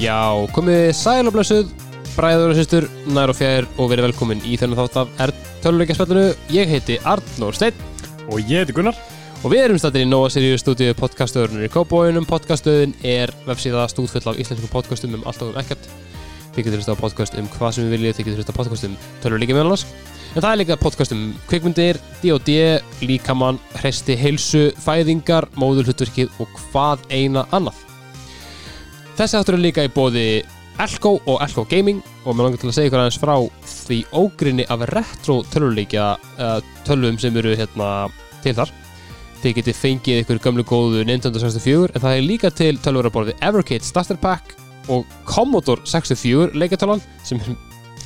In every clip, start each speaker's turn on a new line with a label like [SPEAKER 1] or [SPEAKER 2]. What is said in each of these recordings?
[SPEAKER 1] Já, komið þið sæl og blessuð, bræður og systur, nær og fjær og verið velkomin í þennan þátt af er töluleikjaspallinu. Ég heiti Arnór Steinn
[SPEAKER 2] Og ég heiti Gunnar
[SPEAKER 1] og við erum stættir í Nóa Sirius stúdíu podcastöðurnir í Kóbóinum. Podcastöðin er vefsíða stúdfull af íslenskum podcastum um allt og um ekkert. Þið getur hlusta á podcast um hvað sem við viljið, þið getur hlusta á podcast um töluleikja meðal annars. En það er líka podcast um kvikmyndir, D.O.D., líkamann, hresti, heilsu, fæðingar, móðulhutverkið og hvað eina annað. Þessi þáttur er líka í bóði Elko og Elko Gaming og mér langar til að segja ykkur aðeins frá því ógrinni af retro töluleikja uh, tölvum sem eru hérna til þar. Þið getið fengið ykkur gömlu góðu Nintendo 64 en það er líka til tölvur að borði Evercade Starter Pack og Commodore 64 leikatölan sem er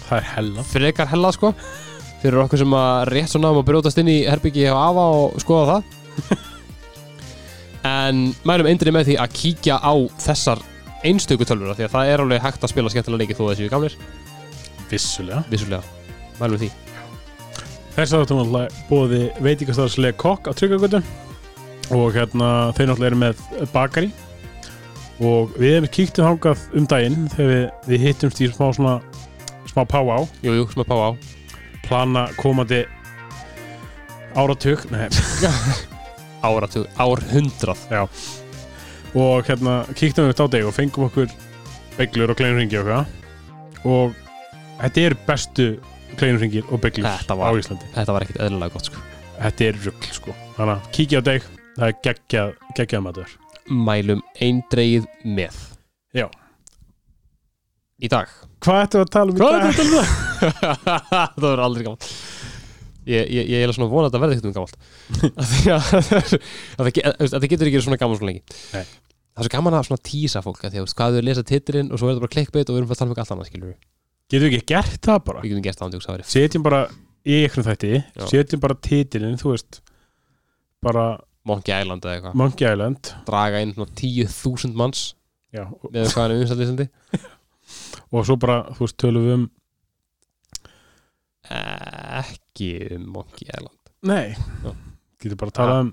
[SPEAKER 2] Það er hella
[SPEAKER 1] frekar hella sko fyrir okkur sem að rétt svona um að brjótast inn í herbyggi á AFA og skoða það en mælum eindri með því að kíkja á þessar einstöku tölvur af því að það er alveg hægt að spila skemmtilega leiki þó þessi við gamlir,
[SPEAKER 2] Vissulega
[SPEAKER 1] vissulega mælum því,
[SPEAKER 2] Þess að þú náttúrulega bóði veitingastarðslega kokk á tryggagötum Og hérna þau náttúrulega eru með bakari Og við hefum kíktum hangað um daginn Þegar við, við hittumst í smá svona Smá páá
[SPEAKER 1] jú, jú, smá pá á
[SPEAKER 2] Plana komandi áratug Nei
[SPEAKER 1] áratug, árhundrað
[SPEAKER 2] og hérna kíktum við upp á deg og fengum okkur beiglur og kleinurringi og hvað og þetta eru bestu kleinurringir og beiglur
[SPEAKER 1] Þetta var-
[SPEAKER 2] á Íslandi
[SPEAKER 1] þetta var ekkert eðlilega gott sko
[SPEAKER 2] þetta er rugl sko þannig að kíkja á deg það er geggjað, geggjað matur
[SPEAKER 1] mælum eindreið með
[SPEAKER 2] Já.
[SPEAKER 1] í dag
[SPEAKER 2] hvað ættum við að tala um í dag?
[SPEAKER 1] um það? það verður aldrei gammalt Ég, ég, ég er svona vonað að það verði eitthvað gammalt Af því að, að, það ge- að, að það getur ekki verið svona gaman svona lengi
[SPEAKER 2] Nei.
[SPEAKER 1] Það er svo gaman að svona tísa fólk af Því að þú veist, hvað þau lesa titilinn og svo er það bara klikkbeitt og við erum bara að tala um eitthvað allt annað skilur við
[SPEAKER 2] getum við ekki gert það bara
[SPEAKER 1] Við getum gert það ándjóks að verið
[SPEAKER 2] setjum bara í einhvern þætti
[SPEAKER 1] Já.
[SPEAKER 2] setjum bara titilinn þú veist bara
[SPEAKER 1] Monkey Island eða eitthvað
[SPEAKER 2] Monkey Island
[SPEAKER 1] Draga inn svona 10.000 manns
[SPEAKER 2] Já, og,
[SPEAKER 1] með hvað hann er umstætt lýsandi
[SPEAKER 2] og svo bara þú veist tölum við um
[SPEAKER 1] Ekki um Monkey Island
[SPEAKER 2] nei
[SPEAKER 1] Já.
[SPEAKER 2] getum bara að tala um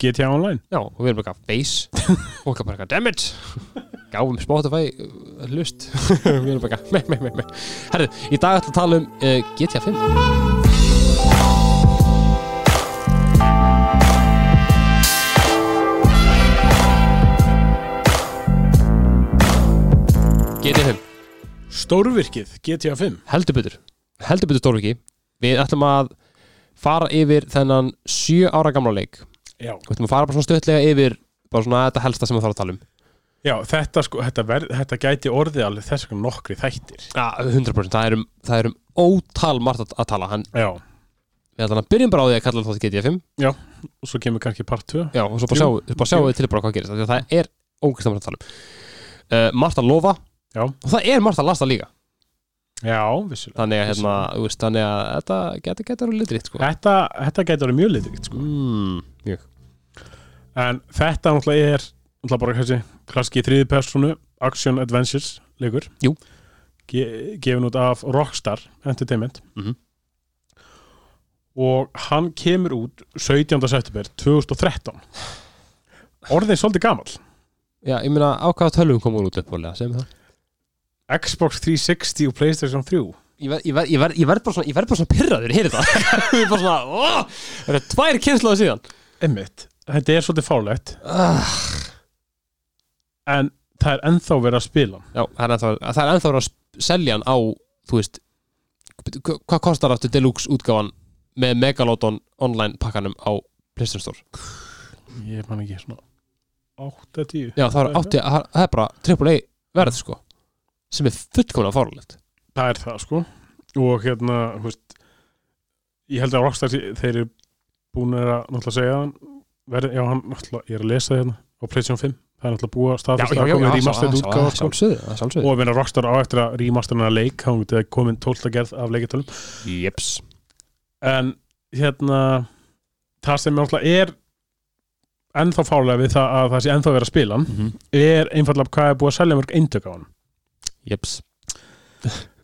[SPEAKER 2] GTA Online
[SPEAKER 1] Já, og við erum bara eitthvað face og eitthvað bara eitthvað dammit gáum Spotify uh, hlust við erum bara eitthvað meh, meh, meh, meh Herru, í dag ætla að tala um uh, GTA 5 GTA 5,
[SPEAKER 2] Stórvirkið GTA 5
[SPEAKER 1] heldur betur heldur betur stórviki við ætlum að fara yfir þennan 7 ára gamla leik
[SPEAKER 2] Já,
[SPEAKER 1] Við ætlum að fara bara svona stöðlega yfir bara svona þetta helsta sem við þarf að tala um
[SPEAKER 2] þetta, sko, þetta, ver, þetta gæti orðið alveg þess vegna nokkri þættir
[SPEAKER 1] Já, 100% það er um, það er um ótal margt að, að tala hann,
[SPEAKER 2] Já,
[SPEAKER 1] við ætlum að byrjum bara á því að kalla þátt GTA 5
[SPEAKER 2] og svo kemur kannski part 2
[SPEAKER 1] Já, og svo bara sjáum við- bara sjáum við til bara hvað gerist af því að það er ógæslega margt að tala um uh, Margt að lofa
[SPEAKER 2] Já.
[SPEAKER 1] og það er margt að lasta líka
[SPEAKER 2] Já, vissulega
[SPEAKER 1] þannig að, hérna, þú veist, þannig að þetta getur getur að litriðt sko.
[SPEAKER 2] Þetta, þetta gæti orðið mjög litrikt sko.
[SPEAKER 1] mm, mjög.
[SPEAKER 2] En þetta náttúrulega er náttúrulega bara hversi klaski þriði personu Action Adventures leikur
[SPEAKER 1] Jú.
[SPEAKER 2] Ge Gefin út af Rockstar Entertainment
[SPEAKER 1] Mhm.
[SPEAKER 2] Og hann kemur út 17. september 2013 Orðin svolítið gamall
[SPEAKER 1] Já, ég meina á hvaða tölvum komur út uppálega sem það
[SPEAKER 2] Xbox 360 og Playstation 3
[SPEAKER 1] Ég verð ver, ver, ver, ver bara svona, ég verð bara svona pyrraður, ég heyri það Ég er bara svona, ó, það eru tvær kynsluðu síðan
[SPEAKER 2] Emmitt, þetta er svolítið fálegt
[SPEAKER 1] ah,
[SPEAKER 2] en það er ennþá verið að spila hann.
[SPEAKER 1] Já, það er ennþá, það er ennþá verið að sp- selja hann á, þú veist hva- Hvað kostar aftur Deluxe útgáfan með Megalodon online pakkanum á Playstation Store?
[SPEAKER 2] Ég man ekki svona 8-10
[SPEAKER 1] Já, það er, átti, það það er bara AAA verð, sko sem er fullkomlega fárlegt
[SPEAKER 2] Það er það sko og hérna, þú veist ég held að Rockstar, sé- þeir eru búin að náttúrulega segja hann verið, já, hann, náttúrulega, ég er að lesa það hérna á Playstation 5, það er náttúrulega búið að staðfesta að komið remastered útgáfa sko.
[SPEAKER 1] sálsöðu,
[SPEAKER 2] og
[SPEAKER 1] sálsöðu
[SPEAKER 2] ég meina Rockstar á eftir að remasterna leik, þá myndi það komin 12 gerð af leikjartölum
[SPEAKER 1] Jeps
[SPEAKER 2] en hérna það sem náttúrulega er ennþá fálega við það að það sé ennþá verið að spila hann,
[SPEAKER 1] Mhm.
[SPEAKER 2] er einfallega hvað er búið að selja mörg eindök á hann
[SPEAKER 1] Jeps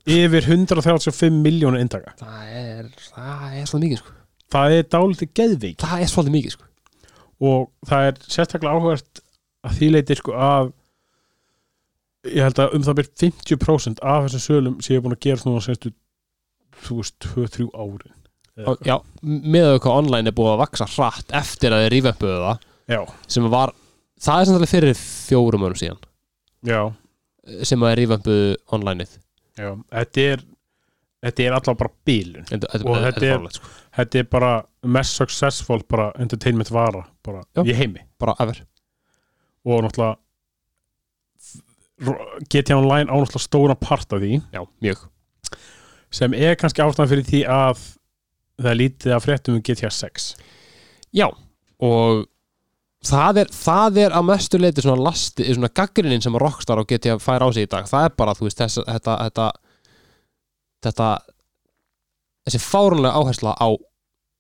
[SPEAKER 2] yfir 135 miljónu eindaka
[SPEAKER 1] Það er, það er svolítið mikið, sko
[SPEAKER 2] það er dálítið geðvík
[SPEAKER 1] Það er svolítið mikið, sko
[SPEAKER 2] og það er sérstaklega áhugast að því leiti sko að ég held að um það byrjum 50% af þessum sölum sem ég er búin að gera svona senstu, þú veist, 2-3 árin Eða
[SPEAKER 1] Og- Já, með að hvað online er búið að vaksa hratt eftir að þið ríföppuðu það
[SPEAKER 2] Já,
[SPEAKER 1] sem var, það er samtalið fyrir fjórum árum síðan
[SPEAKER 2] já,
[SPEAKER 1] sem að ríföppuðu onlineið
[SPEAKER 2] já Þetta er, þetta er allavega bara bílun
[SPEAKER 1] En þetta-
[SPEAKER 2] Og þetta er-
[SPEAKER 1] fáránlegt, sko.
[SPEAKER 2] Þetta er bara mest successful bara entertainment vara bara
[SPEAKER 1] Já.
[SPEAKER 2] í heimi
[SPEAKER 1] bara ever
[SPEAKER 2] og náttúrulega r- GTA Online á náttúrulega stóra part af því
[SPEAKER 1] Já, mjög
[SPEAKER 2] sem er kannski ástæðan fyrir því að það er lítið að fréttum um GTA 6
[SPEAKER 1] Já, og það er, það er að mestu leiti svona lasti, svona gaggrinin sem Rockstar og GTA fær á sig í dag, það er bara, þú veist, þess, þetta, þetta þetta þessi fárunlega áhersla á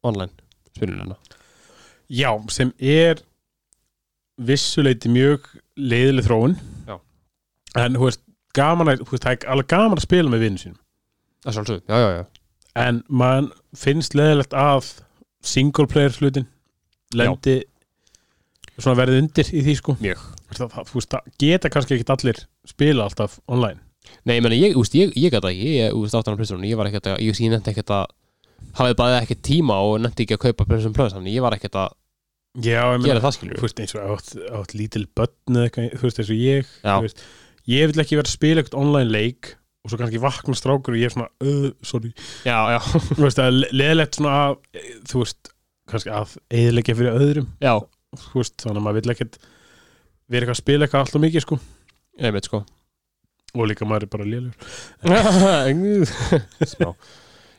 [SPEAKER 1] online spilunina
[SPEAKER 2] Já, sem er vissuleiti mjög leiðileg þróun
[SPEAKER 1] Já.
[SPEAKER 2] en þú veist, gaman að, þú veist, það er alveg gaman að spila með vinn sínum
[SPEAKER 1] Það er svolítið, já, já, já
[SPEAKER 2] en mann finnst leðilegt að single player hlutin lendi svona verði undir í því sko
[SPEAKER 1] Mjög.
[SPEAKER 2] það, það, þú veist, það geta kannski ekkit allir spila alltaf online
[SPEAKER 1] Nei, ég meni, ég, úst, ég, ég gæta ekki, ég, úst, áttan á plössunum, ég var ekkert að, ég, ég nefndi ekkert að hafið bara ekkert tíma og nefndi ekki að kaupa plössun plöss, þannig ég var ekkert að
[SPEAKER 2] já, ég meina,
[SPEAKER 1] gera það skilur
[SPEAKER 2] þú veist, eins og átt, átt lítil börn eða eitthvað, þú veist, eins og ég
[SPEAKER 1] Já.
[SPEAKER 2] þú veist, ég vil ekki vera að spila eitthvað online leik og svo kannski vakna strákur og ég er svona, uh, sorry
[SPEAKER 1] Já, já,
[SPEAKER 2] þú veist, það er leðilegt svona að eh, þú veist, kannski að eðilegja fyrir öðrum,
[SPEAKER 1] já,
[SPEAKER 2] þú veist, þannig að maður vil ekkit vera eitthvað að spila eitthvað alltaf mikið sko
[SPEAKER 1] einmitt sko
[SPEAKER 2] og líka maður er bara lélugur
[SPEAKER 1] Smá.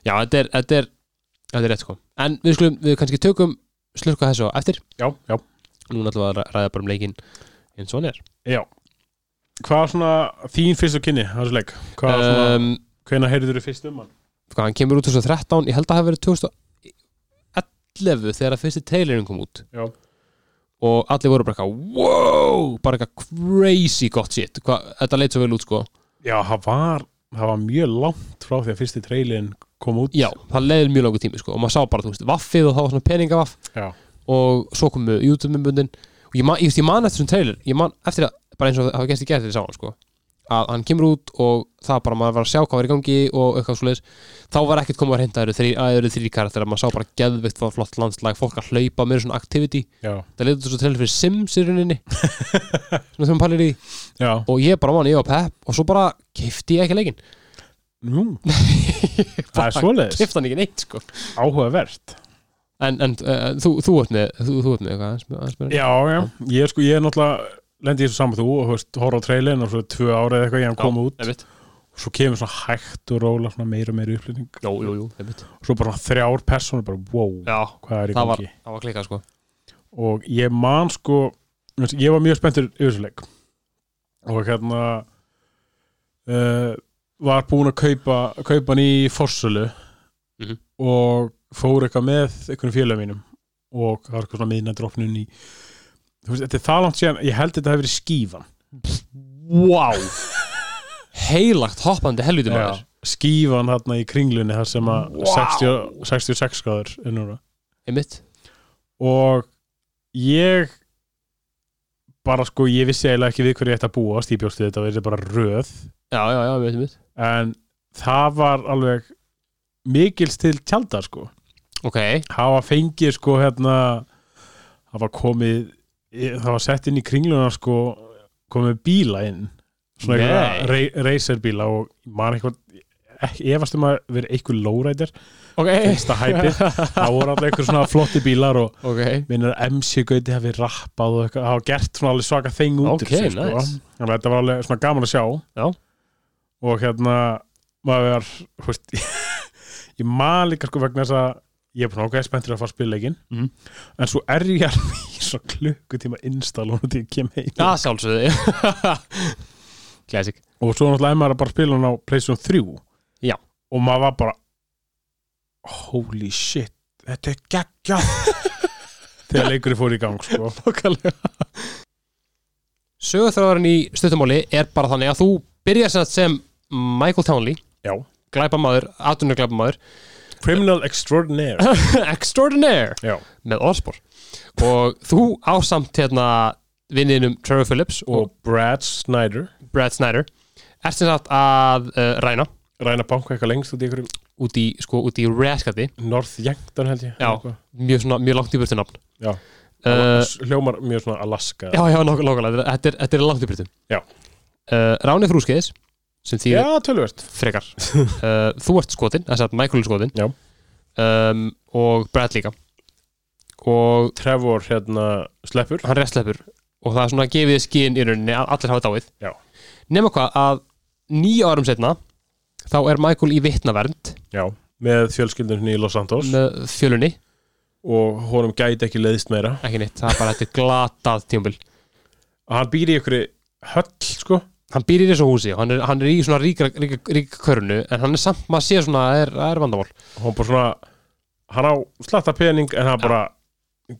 [SPEAKER 1] Já, þetta er, þetta er þetta er rétt sko En við skulum, við kannski tökum slurka þessu á eftir
[SPEAKER 2] já, já.
[SPEAKER 1] Núna ætlum við að ræ- ræða bara um leikinn eins og hann er
[SPEAKER 2] hvað er svona þín fyrstu kynni hans leik, hvað er svona,
[SPEAKER 1] um,
[SPEAKER 2] hvenær heyrður þú fyrst um hann
[SPEAKER 1] hvað, Hann kemur út 2013, ég held að það hafi verið 2011 þegar að fyrsti trailerinn kom út
[SPEAKER 2] Já.
[SPEAKER 1] Og allir voru bara eitthvað, wow Bara eitthvað crazy gott shit Hva, Þetta leit svo vel út sko
[SPEAKER 2] já, það var, það var mjög langt frá því að fyrsti treilin kom út
[SPEAKER 1] Já, það leiði mjög langur tími sko Og maður sá bara, þú veist, vaffið og það var svona peningavaff
[SPEAKER 2] já,
[SPEAKER 1] og svo komu YouTube-myndbundin og ég man, ég, veist, ég man eftir þessum trailer ég man eftir að, bara eins og það hafa gæst í gæti sá hann sko, að hann kemur út og það bara maður var að sjá hvað var í gangi og eitthvað svoleiðis, þá var ekkert komið að reynda að það eru þrý karakter að maður sá bara geðvikt var flott landslag, fólk að hlaupa meira svona activity,
[SPEAKER 2] já,
[SPEAKER 1] það leiði út svo trailer fyrir Sims í rauninni svona þegar maður pælir í því.
[SPEAKER 2] já.
[SPEAKER 1] og ég bara man, ég var pepp og svo bara kefti ég ekki leikin
[SPEAKER 2] Nú, það er svoleiðis
[SPEAKER 1] kefti hann ekki neitt sko
[SPEAKER 2] áhugavert
[SPEAKER 1] en, en uh, þú, þú ert með, þú, þú ert með eitthvað, aðeins- aðeins meira?
[SPEAKER 2] já, já, ég er sko, ég er náttúrulega lendi í þessu saman þú og þú veist, horfa á treilin og svo tvö ára eða eitthvað ég hann kom út
[SPEAKER 1] einmitt.
[SPEAKER 2] og svo kemur svona hægt og róla svona meira og meira upplýning
[SPEAKER 1] Jú, jú, jú, einmitt.
[SPEAKER 2] og svo bara svona þrjár personur bara, wow,
[SPEAKER 1] Já,
[SPEAKER 2] hvað er í
[SPEAKER 1] það var,
[SPEAKER 2] gangi
[SPEAKER 1] það var klikkað sko
[SPEAKER 2] og ég man sko þú veist, ég var mjög spenntur yfir þessu leik og hérna uh, var búinn að kaupa kaupa hann í Fossulu
[SPEAKER 1] Mhm.
[SPEAKER 2] og fór eitthvað með einhvern félagum mínum og það var eitthvað svona miðnættróknun í þú veist, þetta er það langt síðan ég held þetta hefur verið skífan
[SPEAKER 1] Vá Heilagt hoppandi helviti maður
[SPEAKER 2] Já, skífan þarna í kringlunni þar sem að
[SPEAKER 1] Vá.
[SPEAKER 2] 60, 66 gráður er núna
[SPEAKER 1] Einmitt
[SPEAKER 2] og ég bara sko, ég vissi eiginlega ekki við hverju ég ætti að búast, ég bjóst við þetta verið bara röð
[SPEAKER 1] Já, já, já, einmitt, einmitt
[SPEAKER 2] en það var alveg mikils til tjaldar sko
[SPEAKER 1] Ok,
[SPEAKER 2] hafa fengið sko hérna hafa komið e, það var sett inn í kringluna sko komið bíla inn svona
[SPEAKER 1] Nei.
[SPEAKER 2] eitthvað reyserbíla og maður eitthvað ekki- efast um að vera eitthvað lowrider
[SPEAKER 1] ok
[SPEAKER 2] fyrsta hæpi, það voru alltaf eitthvað svona flotti bílar og
[SPEAKER 1] Ok,
[SPEAKER 2] minnur að MC Gauti hafi rappað og eitthvað, hafa gert svona alveg svaka þing út úr
[SPEAKER 1] Ok,
[SPEAKER 2] þessu,
[SPEAKER 1] nice.
[SPEAKER 2] þannig að þetta var alveg svona gaman að sjá
[SPEAKER 1] Já.
[SPEAKER 2] og hérna maður var, hú veist ég man líka sko vegna þess að ég er búin ákveðið spenntur að fara að spila leikinn
[SPEAKER 1] Mhm.
[SPEAKER 2] en svo er ég alveg í svo klukkutíma install og því ég kem heim
[SPEAKER 1] það sjálfsögði Classic
[SPEAKER 2] og svo náttúrulega er maður að bara spila hann á Playstation 3
[SPEAKER 1] Já.
[SPEAKER 2] og maður var bara holy shit þetta er geggja þegar leikurinn fór í gang sko.
[SPEAKER 1] Nókalega Sögurþráðurinn í stuttumáli er bara þannig að þú byrjar sem, sagt sem Michael Townley
[SPEAKER 2] Já.
[SPEAKER 1] Glæpamaður, atvinnur glæpamaður
[SPEAKER 2] criminal extraordinaire
[SPEAKER 1] Extraordinaire
[SPEAKER 2] Já.
[SPEAKER 1] Með orðspor Og þú ásamt hérna vinninum Trevor Phillips og
[SPEAKER 2] og Brad Snyder
[SPEAKER 1] Brad Snyder ert sem sagt að uh, ræna
[SPEAKER 2] ræna banka eitthvað lengst út í einhverjum
[SPEAKER 1] út í, sko, út í reskati
[SPEAKER 2] North Yankton held ég
[SPEAKER 1] Já.
[SPEAKER 2] Eitthvað.
[SPEAKER 1] mjög, svona, mjög langt í burtu nafn
[SPEAKER 2] Já.
[SPEAKER 1] uh,
[SPEAKER 2] hljómar mjög svona Alaska
[SPEAKER 1] Já, já, nokkuð nákvæmlega, þetta, er- þetta er langt í burtu
[SPEAKER 2] Já.
[SPEAKER 1] uh, Ráni Frúskeiðis sem þýðir
[SPEAKER 2] Já, tölvöld
[SPEAKER 1] frekar uh, Þú ert skotin, þess að Michael er skotin
[SPEAKER 2] Já.
[SPEAKER 1] um, og Brad líka og
[SPEAKER 2] Trevor hérna sleppur
[SPEAKER 1] hann restleppur og það er svona að gefið skinn í rauninni að allir hafa dáið
[SPEAKER 2] Já.
[SPEAKER 1] nema hvað að níu árum setna þá er Michael í vitnavernd
[SPEAKER 2] Já, með fjölskyldunni í Los Santos
[SPEAKER 1] með fjölunni,
[SPEAKER 2] og honum gæti ekki leiðist meira
[SPEAKER 1] ekki neitt það er bara þetta er glatað tímabil
[SPEAKER 2] og hann býr í ykkur höll sko
[SPEAKER 1] hann býr í þessu húsi og hann er, hann er í svona ríka, ríka, ríka körnu en hann er samt, maður sé svona það er, það er vandamál
[SPEAKER 2] og hann bara svona hann á slatta pening en hann bara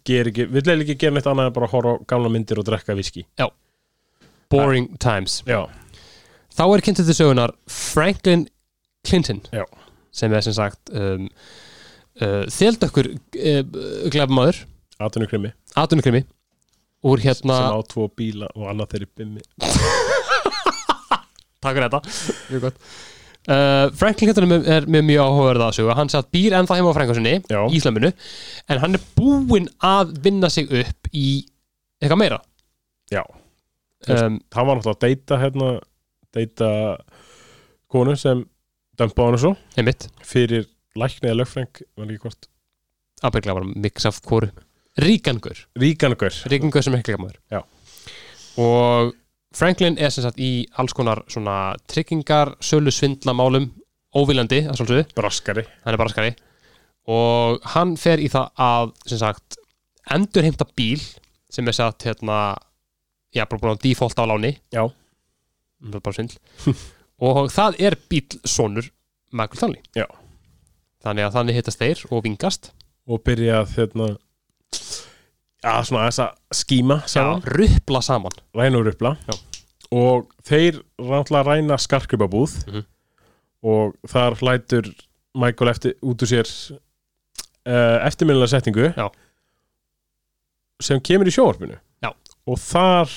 [SPEAKER 2] ger ekki, vill eiginlega ekki gera neitt annað en bara horfa á gamla myndir og drekka viski
[SPEAKER 1] boring times
[SPEAKER 2] Já,
[SPEAKER 1] þá er kynntið til sögunar Franklin Clinton
[SPEAKER 2] Já.
[SPEAKER 1] sem er sem sagt um, uh, þeldökkur uh, glefmaður,
[SPEAKER 2] atvinnu krimi
[SPEAKER 1] atunukrimi úr hérna
[SPEAKER 2] sem á tvo bíla og annað þeirri bimmi
[SPEAKER 1] takk fyrir þetta mjög gott uh, Franklin Clinton er með, er með mjög áhugaverða að sögu hann satt býr ennþá heima á frængarsinni
[SPEAKER 2] Já,
[SPEAKER 1] í Íslaminu en hann er búinn að vinna sig upp í eitthvað meira
[SPEAKER 2] já
[SPEAKER 1] um,
[SPEAKER 2] hann var náttúrulega að deyta hérna deyta konu sem dömpaði hann og svo
[SPEAKER 1] einmitt,
[SPEAKER 2] fyrir lækni eða lögfræng var ekki hvort
[SPEAKER 1] ábygglega var mix af kóru ríkangur
[SPEAKER 2] Ríkangur
[SPEAKER 1] Ríkingur sem hekklingamaður
[SPEAKER 2] Já.
[SPEAKER 1] Og Franklin er sem sagt í alls konar svona tryggingar, sölu svindlamálum óviljandi, að svolítið,
[SPEAKER 2] Braskari
[SPEAKER 1] hann er bara skari og hann fer í það að sem sagt endurheimta bíl sem er satt hérna já, bara búin að defaulta á láni
[SPEAKER 2] Já.
[SPEAKER 1] Það er bara svindl og það er bílsonur Michael Stanley
[SPEAKER 2] Já.
[SPEAKER 1] Þannig að þannig hittast þeir og vingast
[SPEAKER 2] og byrjað hérna að svona aðeins að skíma saman,
[SPEAKER 1] rupla saman
[SPEAKER 2] ræna úr uppla
[SPEAKER 1] Já.
[SPEAKER 2] og þeir rántlega ræna skarkrupabúð
[SPEAKER 1] Mhm.
[SPEAKER 2] og þar hlætur Michael eftir, út úr sér uh, eftirminnilega setningu
[SPEAKER 1] Já.
[SPEAKER 2] sem kemur í sjóvarpinu
[SPEAKER 1] Já.
[SPEAKER 2] og þar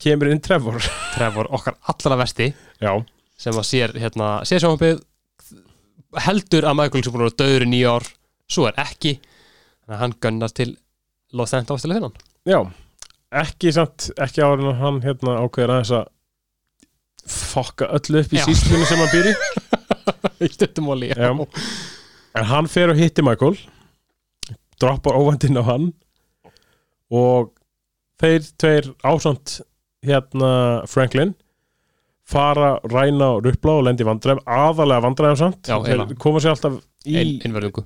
[SPEAKER 2] kemur inn Trevor
[SPEAKER 1] Trevor okkar allra vesti
[SPEAKER 2] Já,
[SPEAKER 1] sem að sér hérna, sér sjónvarpið heldur að Michael sem búin að vera döður í nýja ár svo er ekki þannig að hann gönnast til Los Angeles til að finna hann
[SPEAKER 2] já ekki samt, ekki áður en hann hérna ákveður aðeins að fokka öllu upp í
[SPEAKER 1] Já.
[SPEAKER 2] síslunni sem hann býr í
[SPEAKER 1] í stuttumóli
[SPEAKER 2] Já. En hann fer og hitti Michael droppar óvandinn á hann og þeir tveir ásamt hérna Franklin fara, ræna og rupla og lendi í vandræðum aðalega vandræðum samt
[SPEAKER 1] Já,
[SPEAKER 2] þeir
[SPEAKER 1] eiginlega.
[SPEAKER 2] koma sér alltaf í,
[SPEAKER 1] Ein, einverðingu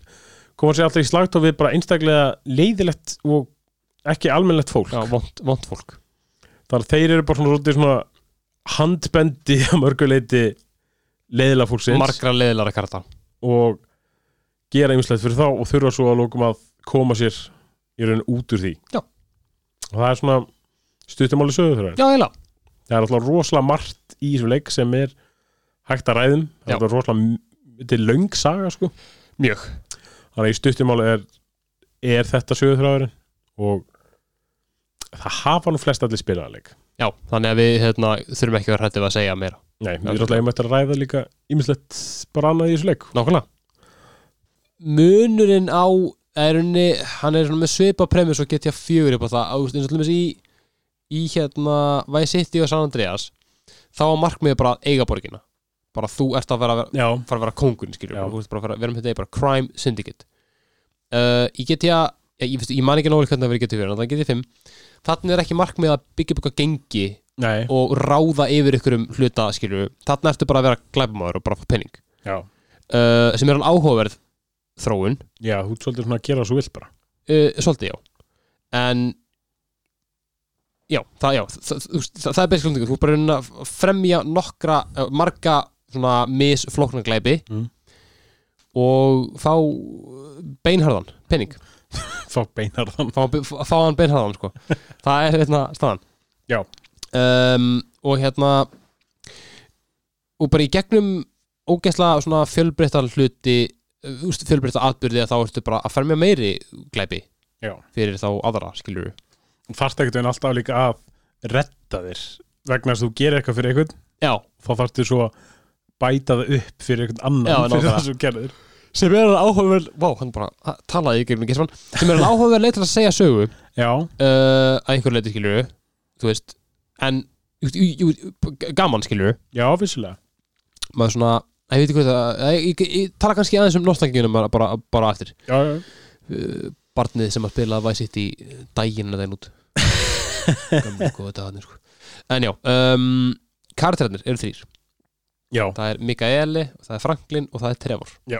[SPEAKER 2] koma sér alltaf í slagt og við bara einstaklega leiðilegt og ekki almennlegt fólk
[SPEAKER 1] Já, vond, vond fólk
[SPEAKER 2] þar þeir eru bara svona, svolítið svona handbendi að mörguleiti leiðilega fólksins
[SPEAKER 1] margra leðilara karta
[SPEAKER 2] og gera ymslegt fyrir þá og þurfa svo að lókum að koma sér í raun út úr því
[SPEAKER 1] Já.
[SPEAKER 2] og það er svona stuttumáli sögur þeirra
[SPEAKER 1] Já, eiginlega
[SPEAKER 2] það er alltaf rosalega margt í þessum leik sem er hægt að ræðum það
[SPEAKER 1] Já.
[SPEAKER 2] er alltaf rosalega m- þetta er löng saga sko
[SPEAKER 1] Mjög
[SPEAKER 2] þannig að í stuttumáli er, er þetta sögur þeirra og það hafa nú flest allir spilaða leik
[SPEAKER 1] Já, þannig að við hérna, þurfum ekki að vera hrættið að segja meira
[SPEAKER 2] Nei, við
[SPEAKER 1] Já,
[SPEAKER 2] erum alltaf einmitt að ræða líka ymslegt bara annað í þessu leik
[SPEAKER 1] Nákvæmlega Munurinn á erunni hann er svona með svipa premis og getja fjögur upp á það á, eins og allir með í, í hérna Vice City og San Andreas þá var markmiðið bara að eiga borgina bara þú ert að vera,
[SPEAKER 2] Já,
[SPEAKER 1] fara að vera kóngurinn skilur
[SPEAKER 2] Já.
[SPEAKER 1] við, þú ert bara að vera, vera með þetta í bara crime syndicate uh, í GTA ég, ég, veist, ég man ekki nálega hvernig það verið GTA 4 en það er GTA 5 þannig er ekki markmiðið að byggja upp eitthvað gengi
[SPEAKER 2] nei
[SPEAKER 1] og ráða yfir ykkur um hluta skilur við, þannig ertu bara að vera glæbamaður og bara að fá penning
[SPEAKER 2] Já,
[SPEAKER 1] uh, sem er hann áhugaverð þróun
[SPEAKER 2] já þú ert svolítið svona að gera svo vilt bara
[SPEAKER 1] uh, svolítið já en já, það, já, það, það, það er basic hlutingur þú ert bara raunin að fremja nokkra uh, marga svona misflóknarglæpi
[SPEAKER 2] Mm.
[SPEAKER 1] og fá beinharðan penning,
[SPEAKER 2] Fá beinarðan
[SPEAKER 1] fá, fá hann beinharðan sko. það er hérna staðan
[SPEAKER 2] Já.
[SPEAKER 1] um, og hérna og bara í gegnum ógeðslega svona fjölbreytta hluti uh, úst, fjölbreytta atbyrði að þá ertu bara að fermja meiri glæpi
[SPEAKER 2] Já.
[SPEAKER 1] fyrir þá aðra skilur
[SPEAKER 2] þarft ekkert veginn alltaf líka að retta þér vegna þess að þú gerir eitthvað fyrir einhvern
[SPEAKER 1] Já,
[SPEAKER 2] þá þarftu svo að bæta það upp fyrir einhvern annan
[SPEAKER 1] Já,
[SPEAKER 2] fyrir
[SPEAKER 1] nákvæmlega.
[SPEAKER 2] það sem þú gerðir
[SPEAKER 1] sem er alveg áhugaverð Vá, hann bara ha- talaði í gegnum gesman sem er alveg áhugaverð leið til að segja sögu uh,
[SPEAKER 2] Já,
[SPEAKER 1] að einhver leitur skilur þú veist, en jú, jú, jú, gaman skilur
[SPEAKER 2] já, vissulega
[SPEAKER 1] maður svona, ég veit ekki hvað það ég, ég, ég, ég tala kannski aðeins um nostalgíunum bara, bara, bara eftir
[SPEAKER 2] Já, já,
[SPEAKER 1] uh, barnið sem að spila Vice City uh, daginn að þeim út gamla góða dagarnir sko. en já, um, karakterarnir eru þrýr
[SPEAKER 2] já,
[SPEAKER 1] það er Mikaeli, það er Franklin og það er Trevor
[SPEAKER 2] Já.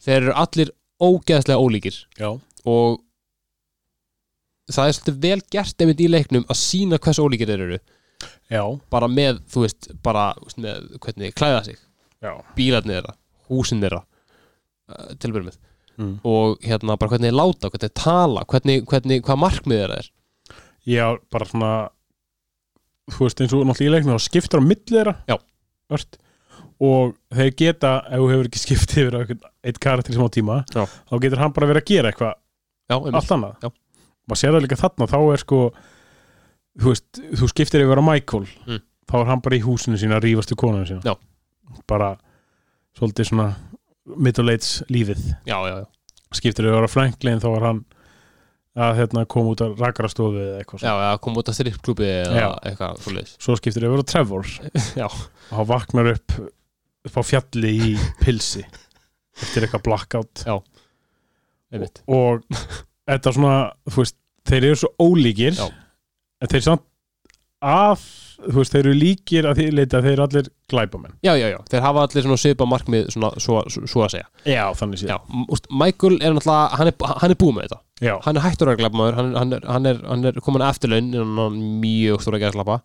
[SPEAKER 1] þeir eru allir ógeðslega ólíkir
[SPEAKER 2] já,
[SPEAKER 1] og það er svolítið vel gert einmitt í leiknum að sína hversu ólíkir þeir eru
[SPEAKER 2] já,
[SPEAKER 1] bara með, þú veist, bara þú veist, með hvernig þeir klæða sig,
[SPEAKER 2] já.
[SPEAKER 1] bílarnir þeirra húsin þeirra uh, tilbyrjum við
[SPEAKER 2] Mm.
[SPEAKER 1] og hérna bara hvernig þeir láta, hvernig þeir tala hvernig, hvernig, hvað markmið þeirra er
[SPEAKER 2] Já, bara svona þú veist eins og náttúrulega í leiknum þá skiptir á milli þeirra
[SPEAKER 1] Já.
[SPEAKER 2] Ört. og þeir geta ef þú hefur ekki skipt yfir á einhvern- einn karakter í smá tíma
[SPEAKER 1] Já.
[SPEAKER 2] þá getur hann bara verið að gera eitthvað
[SPEAKER 1] já, einmitt,
[SPEAKER 2] allt annað
[SPEAKER 1] Já.
[SPEAKER 2] maður sér það líka þarna þá er sko þú veist, þú skiptir yfir á Michael
[SPEAKER 1] Mm.
[SPEAKER 2] þá er hann bara í húsinu sína að rífast við konunum sína
[SPEAKER 1] Já.
[SPEAKER 2] bara svolítið svona middle age lífið
[SPEAKER 1] já, já, já,
[SPEAKER 2] skiptir yfir á Franklin þá er hann að hérna, koma út að rakarastofu eða eitthvað
[SPEAKER 1] já, já koma út að strippklúbi eða
[SPEAKER 2] Já.
[SPEAKER 1] eitthvað svo leiðis
[SPEAKER 2] svo skiptir yfir á Trevor
[SPEAKER 1] Já.
[SPEAKER 2] og hann vaknar upp upp á fjalli í pilsi eftir eitthvað blackout
[SPEAKER 1] einmitt,
[SPEAKER 2] og þetta svona, þú veist, þeir eru svo ólíkir
[SPEAKER 1] Já.
[SPEAKER 2] en þeir samt að, þú veist, þeir eru líkir að því leita að þeir eru allir glæpamenn
[SPEAKER 1] já, já, já, þeir hafa allir svona svipa markmið svona, svo, svo, svo að segja
[SPEAKER 2] Já, þannig
[SPEAKER 1] já, m- úst, Michael er náttúrulega, hann er, hann er búið með þetta
[SPEAKER 2] Já,
[SPEAKER 1] hann er hættur að glæpa maður hann, hann, er, hann, er, hann er komin að eftirlaun innan hann mjög stóra gæðslapa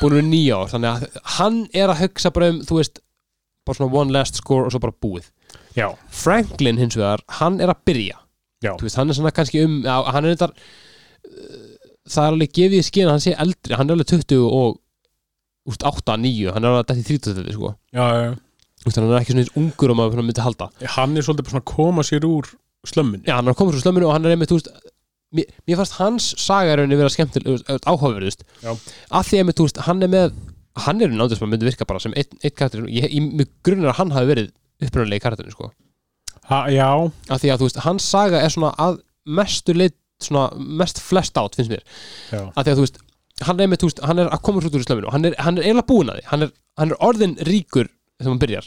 [SPEAKER 1] búin við nýja ár þannig að hann er að hugsa bara um þú veist bara svona one last score og svo bara búið
[SPEAKER 2] já,
[SPEAKER 1] Franklin hins vegar hann er að byrja
[SPEAKER 2] já,
[SPEAKER 1] þú veist hann er svona kannski um já, hann er þetta það er alveg gefið í skinn að hann sé eldri hann er alveg 20 og úst, 8, 9 hann er alveg dætti 30 þetta sko
[SPEAKER 2] já, já.
[SPEAKER 1] úst, hann er ekki svona eins ungur og maður svona myndi halda
[SPEAKER 2] Hann er svolítið bara svona að koma sér úr slömmunni
[SPEAKER 1] já, hann er að koma svo slömminu og hann er einmitt þú veist, mér, mér fannst hans sagarunni vera skemmtileg áhugaverðust
[SPEAKER 2] Já.
[SPEAKER 1] að því einmitt, þú veist, hann er með hann er náttúrulega sem myndi virka bara sem einn ein karakter ég, ég, mig grunar að hann hafi verið upprunalegi karakterin sko.
[SPEAKER 2] ha, Já,
[SPEAKER 1] að því að þú veist, hans saga er svona að mestu lit, svona mest flest átt finnst mér,
[SPEAKER 2] já,
[SPEAKER 1] að því að þú veist hann er, einmitt, þú veist, hann er að koma svo út úr slömminu hann er, hann er eiginlega búin að því, hann er, hann er orðin ríkur þegar hann byrjar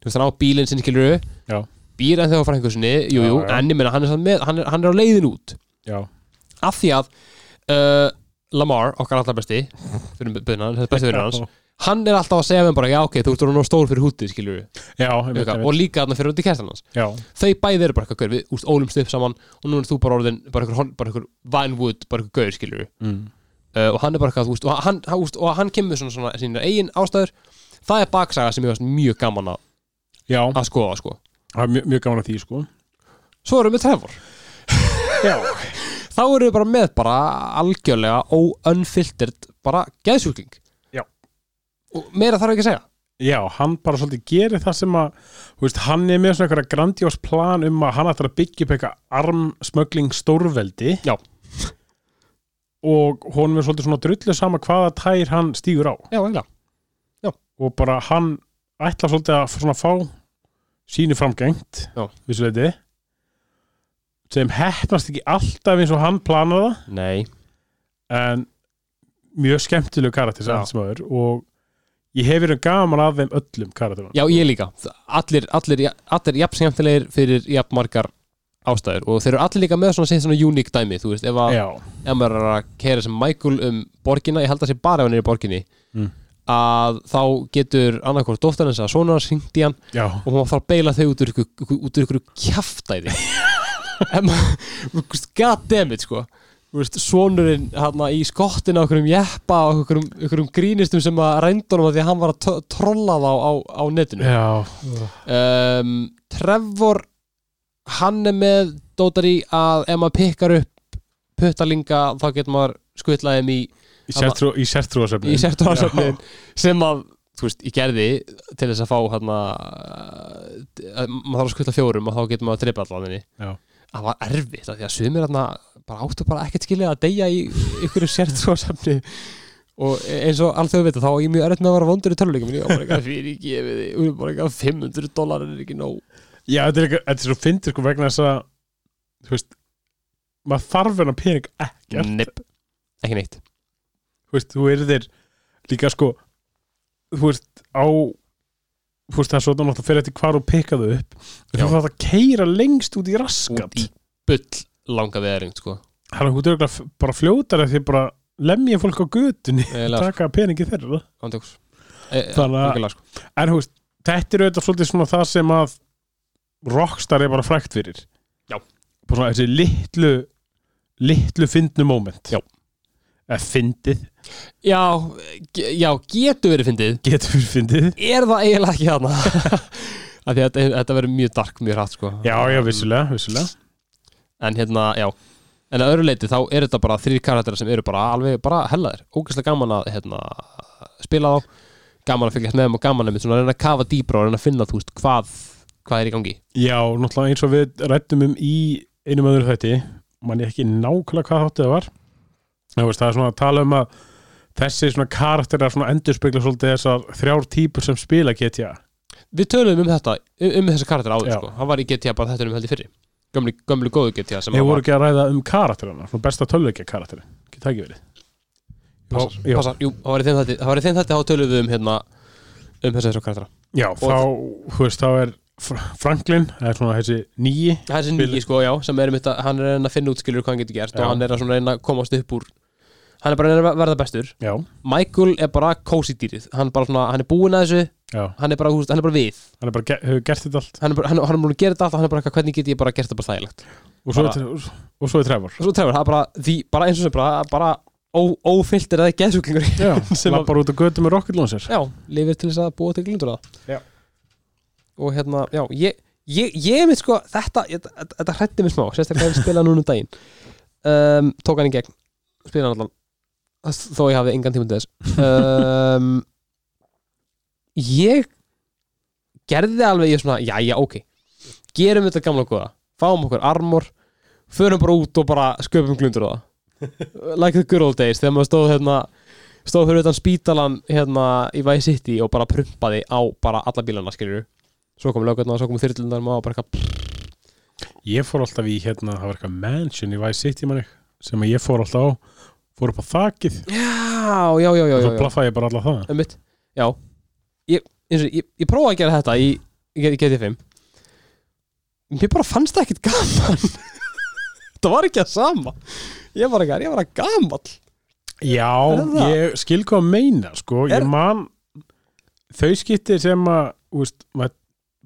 [SPEAKER 1] þú veist, hann á bílinn sinni skilur
[SPEAKER 2] Já.
[SPEAKER 1] býr en þegar frængur sinni, jú,
[SPEAKER 2] Já,
[SPEAKER 1] jú,
[SPEAKER 2] já.
[SPEAKER 1] en ég meina hann er, samt með, hann er, hann er á leiðin út
[SPEAKER 2] já
[SPEAKER 1] af því að uh, Lamar, okkar allra besti fyrir byrjunan, þetta er besti fyrir hans hann er alltaf að segja með bara, já ok, þú ert orðinn of stór fyrir hútið skilur við,
[SPEAKER 2] Já, einmitt, einmitt.
[SPEAKER 1] og líka þarna fyrir hundi kæstan hans
[SPEAKER 2] já,
[SPEAKER 1] þau bæði eru bara eitthvað gaur, við úst ólumst upp saman og nú er þú bara orðin, bara eitthvað hon- bara eitthvað Vinewood, bara eitthvað gaur skilur við
[SPEAKER 2] mm.
[SPEAKER 1] uh, og hann er bara eitthvað, þú veist, og hann, hann, úst, og hann kemur svona, svona sína eigin ástæður það er baksaga sem ég varst mjög gaman að,
[SPEAKER 2] já
[SPEAKER 1] að skoða sko
[SPEAKER 2] það er mjög, mjög gaman að því, sko
[SPEAKER 1] svo erum við Trevor,
[SPEAKER 2] Já,
[SPEAKER 1] þá erum við bara með bara algjörlega óunfiltert bara geðsjúkling
[SPEAKER 2] Já.
[SPEAKER 1] og meira þarf ekki að segja
[SPEAKER 2] Já, hann bara svolítið gerir það sem að þú veist, hann er með svona einhverja grandjós plan um að hann ætlar að byggja upp eitthvað armsmögling stórveldi
[SPEAKER 1] Já.
[SPEAKER 2] og honum er svolítið svona drullu sama hvaða tær hann stígur á
[SPEAKER 1] Já, eiginlega
[SPEAKER 2] og bara hann ætlar svolítið að svona fá sínu framgengt
[SPEAKER 1] Já.
[SPEAKER 2] vissuleiti sem hefnast ekki alltaf eins og hann planar það
[SPEAKER 1] Nei
[SPEAKER 2] en mjög skemmtilegu karakter sem
[SPEAKER 1] Já.
[SPEAKER 2] allt sem aður og ég hef verið gaman af þeim öllum karakterum
[SPEAKER 1] Já, ég líka Allir, allir, allir jafn skemmtilegir fyrir jafn margar ástæður og þeir eru allir líka með svona sitt svona uník dæmi þú veist, ef, að,
[SPEAKER 2] Já,
[SPEAKER 1] ef maður er að kæra sem Michael um borgina, ég held að sé bara ef hann er í borginni
[SPEAKER 2] Mm.
[SPEAKER 1] að þá getur annarkvort dóttar hans að sonar hringt í hann
[SPEAKER 2] já,
[SPEAKER 1] og hún þarf að beila þau út úr ykkur, ykkur, út úr ykkur kjaftaði en maður, goddammit sko Þú veist, sonurinn hana, í skottin á okkurum jeppa og okkurum, okkurum grínistum sem að rændunum að því að hann var að to- trolla þá á, á netinu
[SPEAKER 2] já.
[SPEAKER 1] um, Trevor hann er með dótar í að ef maður pikkar upp puttalinga þá getur maður skutlaðið í,
[SPEAKER 2] Í sértrú- Í sértrúasöfnin
[SPEAKER 1] í sértúransöfnin sem að þú veist, ég gerði til eh, þess að fá hérna, uh, maður þarf að skutla fjórum og þá getur maður að drepa allan henni
[SPEAKER 2] Já.
[SPEAKER 1] það var erfitt af því að sumir þarna bara áttu bara ekkert skilið að deyja í ykkur sért svo samni og eins og allt þau vita þá er ég mjög erfitt með að vera vondur í töluleikum ég var bara eitthvað fyrir gefið og ég var bara eitthvað 500 dólar er ekki nóg
[SPEAKER 2] Já, þetta er, líka, þetta er svo fyndir sko vegna þess að þú veist, maður þarf hennar pening ekkert
[SPEAKER 1] Nipp, ekki neitt
[SPEAKER 2] þú veist, þú eru þér líka sko þú veist, á þú veist, það er svo þannig að það fyrir eftir hvar og pikka þau upp
[SPEAKER 1] Já.
[SPEAKER 2] þú þarf að keira lengst út í raskat
[SPEAKER 1] út í bull langa veðaring sko
[SPEAKER 2] þannig að þú ert örugglega f- bara fljótar því bara lemja fólk á götunni
[SPEAKER 1] eiginlega Eh,
[SPEAKER 2] taka peningi þeirra
[SPEAKER 1] ándjóks það
[SPEAKER 2] Þannig að- en þú veist, þetta er auðvitað svolítið svona það sem að rockstar er bara frækt fyrir
[SPEAKER 1] Já.
[SPEAKER 2] bara svona þessi litlu litlu fyndnu moment
[SPEAKER 1] Já.
[SPEAKER 2] eða fyndið,
[SPEAKER 1] já, ge- já, getur verið fyndið
[SPEAKER 2] getur við fyndið
[SPEAKER 1] er það eiginlega ekki þarna af því að þetta, þetta verður mjög dark mjög hratt sko
[SPEAKER 2] já, já, vissulega, vissulega
[SPEAKER 1] en hérna, já en að öðru leiti þá er þetta bara þrýr karakterar sem eru bara alveg bara hellaðir ógæslega gaman að hérna, spila þá gaman að fylgjast með þeim og gaman að svona að reyna að kafa dýbra og reyna að finna þú veist hvað hvað er í gangi
[SPEAKER 2] Já, náttúrulega eins og við rættum um í einum öðru þætti man ég ekki nákvæmlega hvað þáttu það var Já, veist, það er svona að tala um að þessi svona karakter er svona endurspegla svolítið þessar þrjár típur sem spila GTA
[SPEAKER 1] við töluðum um þetta, um, um þessa karakter áður
[SPEAKER 2] Já.
[SPEAKER 1] sko. hann var í GTA bara þetta um held í fyrri gömlu, gömlu góðu GTA sem
[SPEAKER 2] Ég
[SPEAKER 1] hann
[SPEAKER 2] voru ekki að ræða um karakterina svona besta tölvöggja karakterin, ekki það ekki verið
[SPEAKER 1] var
[SPEAKER 2] já,
[SPEAKER 1] passar, passar, jú, það var í þeim þætti það var í þeim þætti þá töluðum við um hérna um þessa þessa karaktera
[SPEAKER 2] já þá, þú veist, þá er Fr- Franklin, það er svona þessi nýji
[SPEAKER 1] það er þessi
[SPEAKER 2] Spila-
[SPEAKER 1] nýji sko, já, sem er mitt að hann er að reyna að finna út skilur hvað hann getur gert
[SPEAKER 2] Já.
[SPEAKER 1] og hann er að svona reyna að komast upp úr hann er bara að reyna að verða bestur
[SPEAKER 2] Já,
[SPEAKER 1] Michael er bara kósi dýrið hann, bara svona, hann er búinn að þessu,
[SPEAKER 2] já,
[SPEAKER 1] hann er bara, húst, hann er bara við
[SPEAKER 2] hann er bara, ge- hefur gert þetta allt
[SPEAKER 1] hann er bara, hann, hann er bara að gera þetta allt og hann er bara eitthvað, hvernig get ég bara gert þetta bara þægilegt
[SPEAKER 2] og svo,
[SPEAKER 1] Bara-
[SPEAKER 2] er, og- og svo er Trevor
[SPEAKER 1] og svo trefur, það er bara, því, bara eins og sem bara, bara ó, ófiltir eða geðsjúklingur
[SPEAKER 2] Já,
[SPEAKER 1] Sem að-
[SPEAKER 2] lappar út á götu með Rocket Launcher
[SPEAKER 1] já, lifir til þess að búa til glindur að
[SPEAKER 2] Já.
[SPEAKER 1] og hérna, já, ég ég, ég mitt sko, þetta, ég- þetta, þetta hrætti mig smá sérstaklega ef ég spila núna um daginn um, tók hann í gegn, spila hann allan þ- þó ég hafi engan tíma til þess um, ég gerði alveg, ég svona, já, já, ok gerum þetta gamla góða, fáum okkur armor förum bara út og bara sköpum glundur á það like the good old days, þegar maður stóð hérna stóð fyrir utan spítalan hérna í Vice City og bara prumpaði á bara alla bílana, skilur svo kom lögurnar, svo kom þyrlundar og bara eitthvað
[SPEAKER 2] Ég fór alltaf í hérna, það var eitthvað mansion í Vice City manni, sem að ég fór alltaf á fór upp á þakið
[SPEAKER 1] já, já, já, já,
[SPEAKER 2] og
[SPEAKER 1] já,
[SPEAKER 2] svo
[SPEAKER 1] já.
[SPEAKER 2] blaffaði ég bara alltaf það
[SPEAKER 1] Einmitt. já. Ég, eins og, ég, ég prófaði að gera þetta í, í GT5 mér bara fannst það ekkit gaman það var ekki að sama ég var ekki, ég var að gamall
[SPEAKER 2] Já,
[SPEAKER 1] Er það?
[SPEAKER 2] ég skil hvað að meina sko,
[SPEAKER 1] Er-
[SPEAKER 2] ég man þau skipti sem að þú veist, maður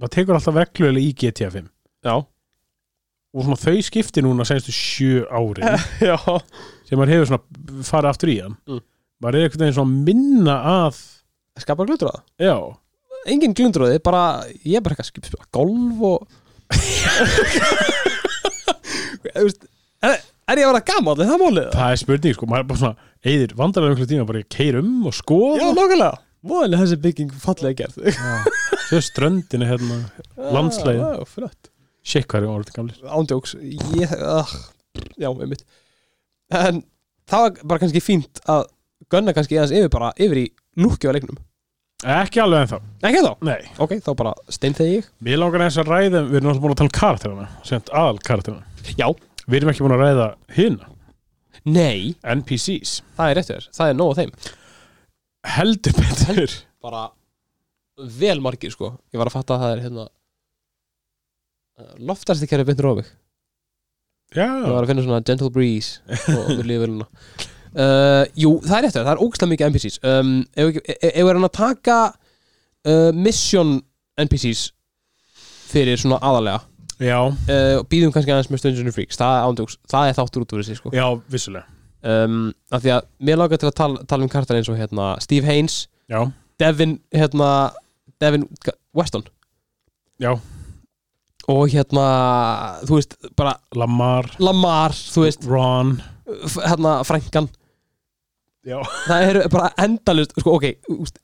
[SPEAKER 2] mað tekur alltaf reglulega í GTA 5
[SPEAKER 1] já,
[SPEAKER 2] og svona þau skipti núna senstu sjö árin
[SPEAKER 1] já,
[SPEAKER 2] sem maður hefur svona farið aftur í hann
[SPEAKER 1] Mm.
[SPEAKER 2] maður er eitthvað svona að minna að
[SPEAKER 1] skapar glundur á það
[SPEAKER 2] já,
[SPEAKER 1] engin glundröði, bara ég er bara eitthvað skip spila golf og Þú veist, er, er ég að vera gamall er það málið?
[SPEAKER 2] það er spurning sko, maður er bara svona eyðir vandarlega einhverjum tíma bara ég keir um og
[SPEAKER 1] Já,
[SPEAKER 2] skoða
[SPEAKER 1] nákvæmlega Móðinlega þessi bygging fallega gerð
[SPEAKER 2] þau ströndinu hérna Landslægin.
[SPEAKER 1] Já, já, flott.
[SPEAKER 2] Shit, hvað er orðið gamlir?
[SPEAKER 1] Ándjóks, ég uh, Já, einmitt En það var bara kannski fínt að gunna kannski eðans yfir bara yfir í lúkju á leiknum
[SPEAKER 2] Ekki alveg ennþá.
[SPEAKER 1] Ekki þá?
[SPEAKER 2] Nei.
[SPEAKER 1] Ok, þá bara steinþegi ég
[SPEAKER 2] Mér langar eins að ræða, við erum alltaf búin að tala um karakterina, semt aðal karakterina.
[SPEAKER 1] Já,
[SPEAKER 2] Við erum ekki búin að ræða hina,
[SPEAKER 1] nei,
[SPEAKER 2] NPCs.
[SPEAKER 1] það er réttu þér Það er nóg af þeim
[SPEAKER 2] Heldur betur.
[SPEAKER 1] bara vel margir sko ég var að fatta að það er hérna eh, loftast ekki að byndur á mig
[SPEAKER 2] Já.
[SPEAKER 1] ég var að finna svona gentle breeze og mér líði vel núna uh, jú, það er rétt það er ógstlega mikið NPCs um, ef, ekki- ef, ef er hann að taka uh, mission NPCs fyrir svona aðalega
[SPEAKER 2] Já,
[SPEAKER 1] uh, og býðum kannski aðeins með Stungeon Freaks það er, ándjóks, það er þáttur út úr þessi sko
[SPEAKER 2] já, vissulega.
[SPEAKER 1] um, af því að mér langar til að tala, tala um kartar eins og hérna Steve Haynes
[SPEAKER 2] Já,
[SPEAKER 1] Devin, hérna Devin Weston
[SPEAKER 2] Já.
[SPEAKER 1] og hérna, þú veist, bara
[SPEAKER 2] Lamar,
[SPEAKER 1] Lamar, þú veist,
[SPEAKER 2] Ron.
[SPEAKER 1] f- hérna Frankan
[SPEAKER 2] Já.
[SPEAKER 1] það eru bara endalust, sko, ok úst,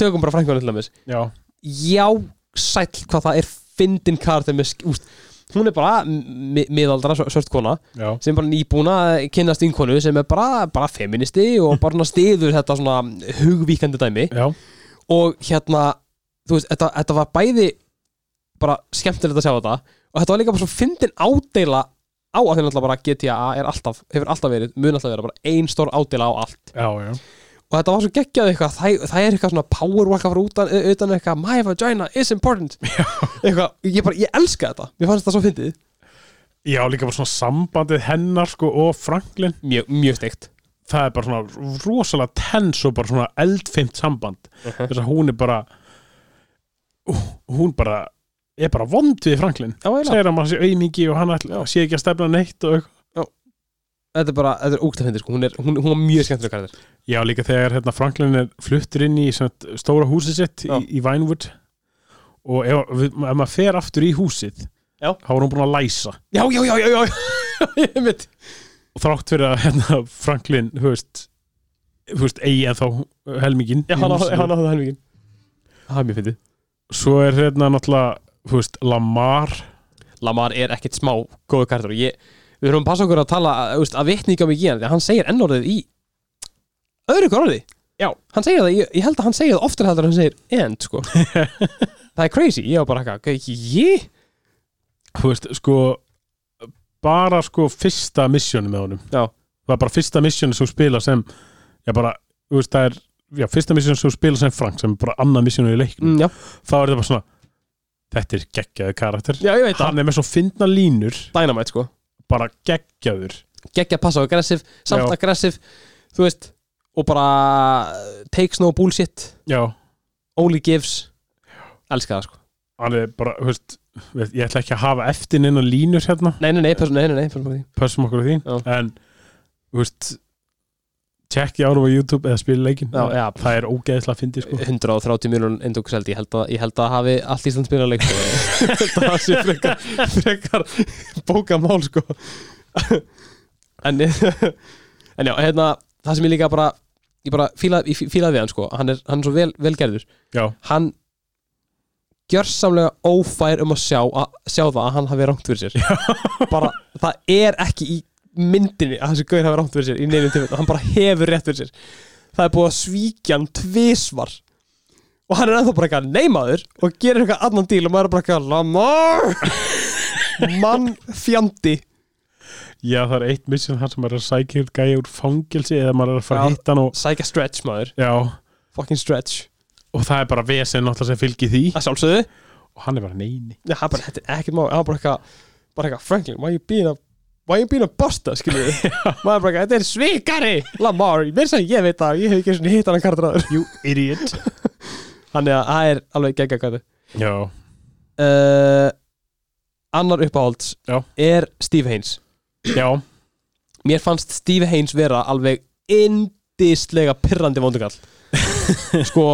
[SPEAKER 1] tökum bara Frankan til dæmis
[SPEAKER 2] Já,
[SPEAKER 1] já, sæll hvað það er fyndin kartið með, sk- úst, hún er bara mi- miðaldra svö- svört kona
[SPEAKER 2] já,
[SPEAKER 1] sem bara nýbúna að kynnast yngkonu sem er bara, bara feministi og bara svona stiður þetta svona hugvíkandi dæmi
[SPEAKER 2] já,
[SPEAKER 1] og hérna, þú veist, þetta, þetta var bæði bara skemmtilegt að sjá þetta og þetta var líka bara svo fyndin ádeila á að þeir náttúrulega bara GTA er alltaf, hefur alltaf verið, mun alltaf vera bara ein stór ádeila á allt
[SPEAKER 2] já, já.
[SPEAKER 1] og þetta var svo geggjað eitthvað, það, það er eitthvað svona power walk að fara utan, utan eitthvað my vagina is important eitthvað, ég bara, ég elska þetta, mér fannst þetta svo fyndið
[SPEAKER 2] Já, líka bara svona sambandið hennar sko og Franklin,
[SPEAKER 1] mjög, mjög steikt
[SPEAKER 2] það er bara svona rosalega tens og bara svona eldfimt samband þess að hún er bara hún bara er bara vond við Franklin
[SPEAKER 1] Já, eiginlega.
[SPEAKER 2] segir hann maður sé auðmingi og hann ætla, sé ekki að stefna neitt og eitthvað
[SPEAKER 1] þetta er bara, þetta er ógætt að fyndið sko, hún er, hún, hún er mjög skemmtileg karakter
[SPEAKER 2] Já, líka þegar hérna, Franklin er fluttur inn í sem sagt, stóra húsið sitt í,
[SPEAKER 1] Já.
[SPEAKER 2] í Vinewood og ef, ef maður fer aftur í húsið
[SPEAKER 1] Já.
[SPEAKER 2] þá er hún búin að læsa
[SPEAKER 1] já, já, já, já, já, ég mitt
[SPEAKER 2] og þrátt fyrir að hérna, Franklin þú veist, þú veist eigi en þá helmingin
[SPEAKER 1] já,
[SPEAKER 2] í
[SPEAKER 1] hann á
[SPEAKER 2] húsinu.
[SPEAKER 1] hann á það helmingin það er mjög fyndið
[SPEAKER 2] svo er hérna náttúrulega þú veist, Lamar
[SPEAKER 1] Lamar er ekkert smá góðu karakter og ég, við höfum passa okkur að tala að, að vitninga mig í hann, því að hann segir ennorðið í öðru hver orði Já. hann segir það, ég, ég held að hann segir það oftar heldur en hann segir end, sko það er crazy, ég var bara eitthvað, ekki ég
[SPEAKER 2] þú veist, sko bara sko fyrsta missjónu með honum
[SPEAKER 1] Já.
[SPEAKER 2] það er bara fyrsta missjónu sem þú spila sem já bara, þú veist, það er já, fyrsta missjónu sem þú spila sem Frank sem er bara annað missjónu í leiknum,
[SPEAKER 1] mm, já.
[SPEAKER 2] þá er þetta bara svona þetta er geggjaði karakter
[SPEAKER 1] já, ég veit það,
[SPEAKER 2] hann er með svo fyndna línur
[SPEAKER 1] dynamite, sko
[SPEAKER 2] bara geggjaður
[SPEAKER 1] geggja passa og aggressiv, samt
[SPEAKER 2] Já.
[SPEAKER 1] aggressiv þú veist, og bara takes no bullshit,
[SPEAKER 2] já,
[SPEAKER 1] only gives elska það, sko,
[SPEAKER 2] hann er bara, þú veist við- ég ætla ekki að hafa eftir neina línur hérna
[SPEAKER 1] nei, nei, nei, person, nei, nei, nei, person, nei.
[SPEAKER 2] pössum okkur á því,
[SPEAKER 1] Já.
[SPEAKER 2] en þú veist tjekki ánum á YouTube eða spila leikin
[SPEAKER 1] Já, já.
[SPEAKER 2] það er ógeðislega fyndi sko
[SPEAKER 1] 130 miljón eindók seld ég held, að, ég held að hafi allt Ísland spilað leik sko. það sé frekar, frekar bókamál sko en en já, hérna það sem ég líka bara ég bara fílaði fíla ég fí- fílaði við hann sko hann er, hann er svo vel, velgerður
[SPEAKER 2] já,
[SPEAKER 1] hann gjörsamlega ófær um að sjá, að, sjá það að hann hafi rangt fyrir sér bara, það er ekki í myndinni að þessi gauður hafi rangt fyrir sér í neinum tíma, hann bara hefur rétt fyrir sér það er búið að svíkja hann tvisvar og hann er ennþá bara eitthvað neymaður og gerir eitthvað annan díl og maður er bara eitthvað Lamar mann fjandi
[SPEAKER 2] Já, það er eitt mission þar sem maður er að sækja eitthvað gæja úr fangelsi eða maður er að fara
[SPEAKER 1] Já.
[SPEAKER 2] að hitta hann og,
[SPEAKER 1] sækja stretch maður,
[SPEAKER 2] já,
[SPEAKER 1] fucking stretch
[SPEAKER 2] og það er bara vesen náttúrulega sem fylgir því
[SPEAKER 1] að sjálfsögðu,
[SPEAKER 2] og hann er bara neini.
[SPEAKER 1] Já, hann bara, þetta er ekkert mál, hann bara eitthvað, bara eitthvað, Franklin, why you being a, why you being a busta, skiljum við, maður bara eitthvað, þetta er svikari, Lamar, ég meins að segja, ég veit það, ég hef ekki svona hitt hann að kartraður.
[SPEAKER 2] You idiot.
[SPEAKER 1] Þannig að það er alveg gegga kvæðu.
[SPEAKER 2] já,
[SPEAKER 1] Uh, annar uppáhalds
[SPEAKER 2] Já.
[SPEAKER 1] er Steve Haynes.
[SPEAKER 2] já,
[SPEAKER 1] Mér fannst Steve Haynes vera alveg indislega pirrandi vondugall. sko,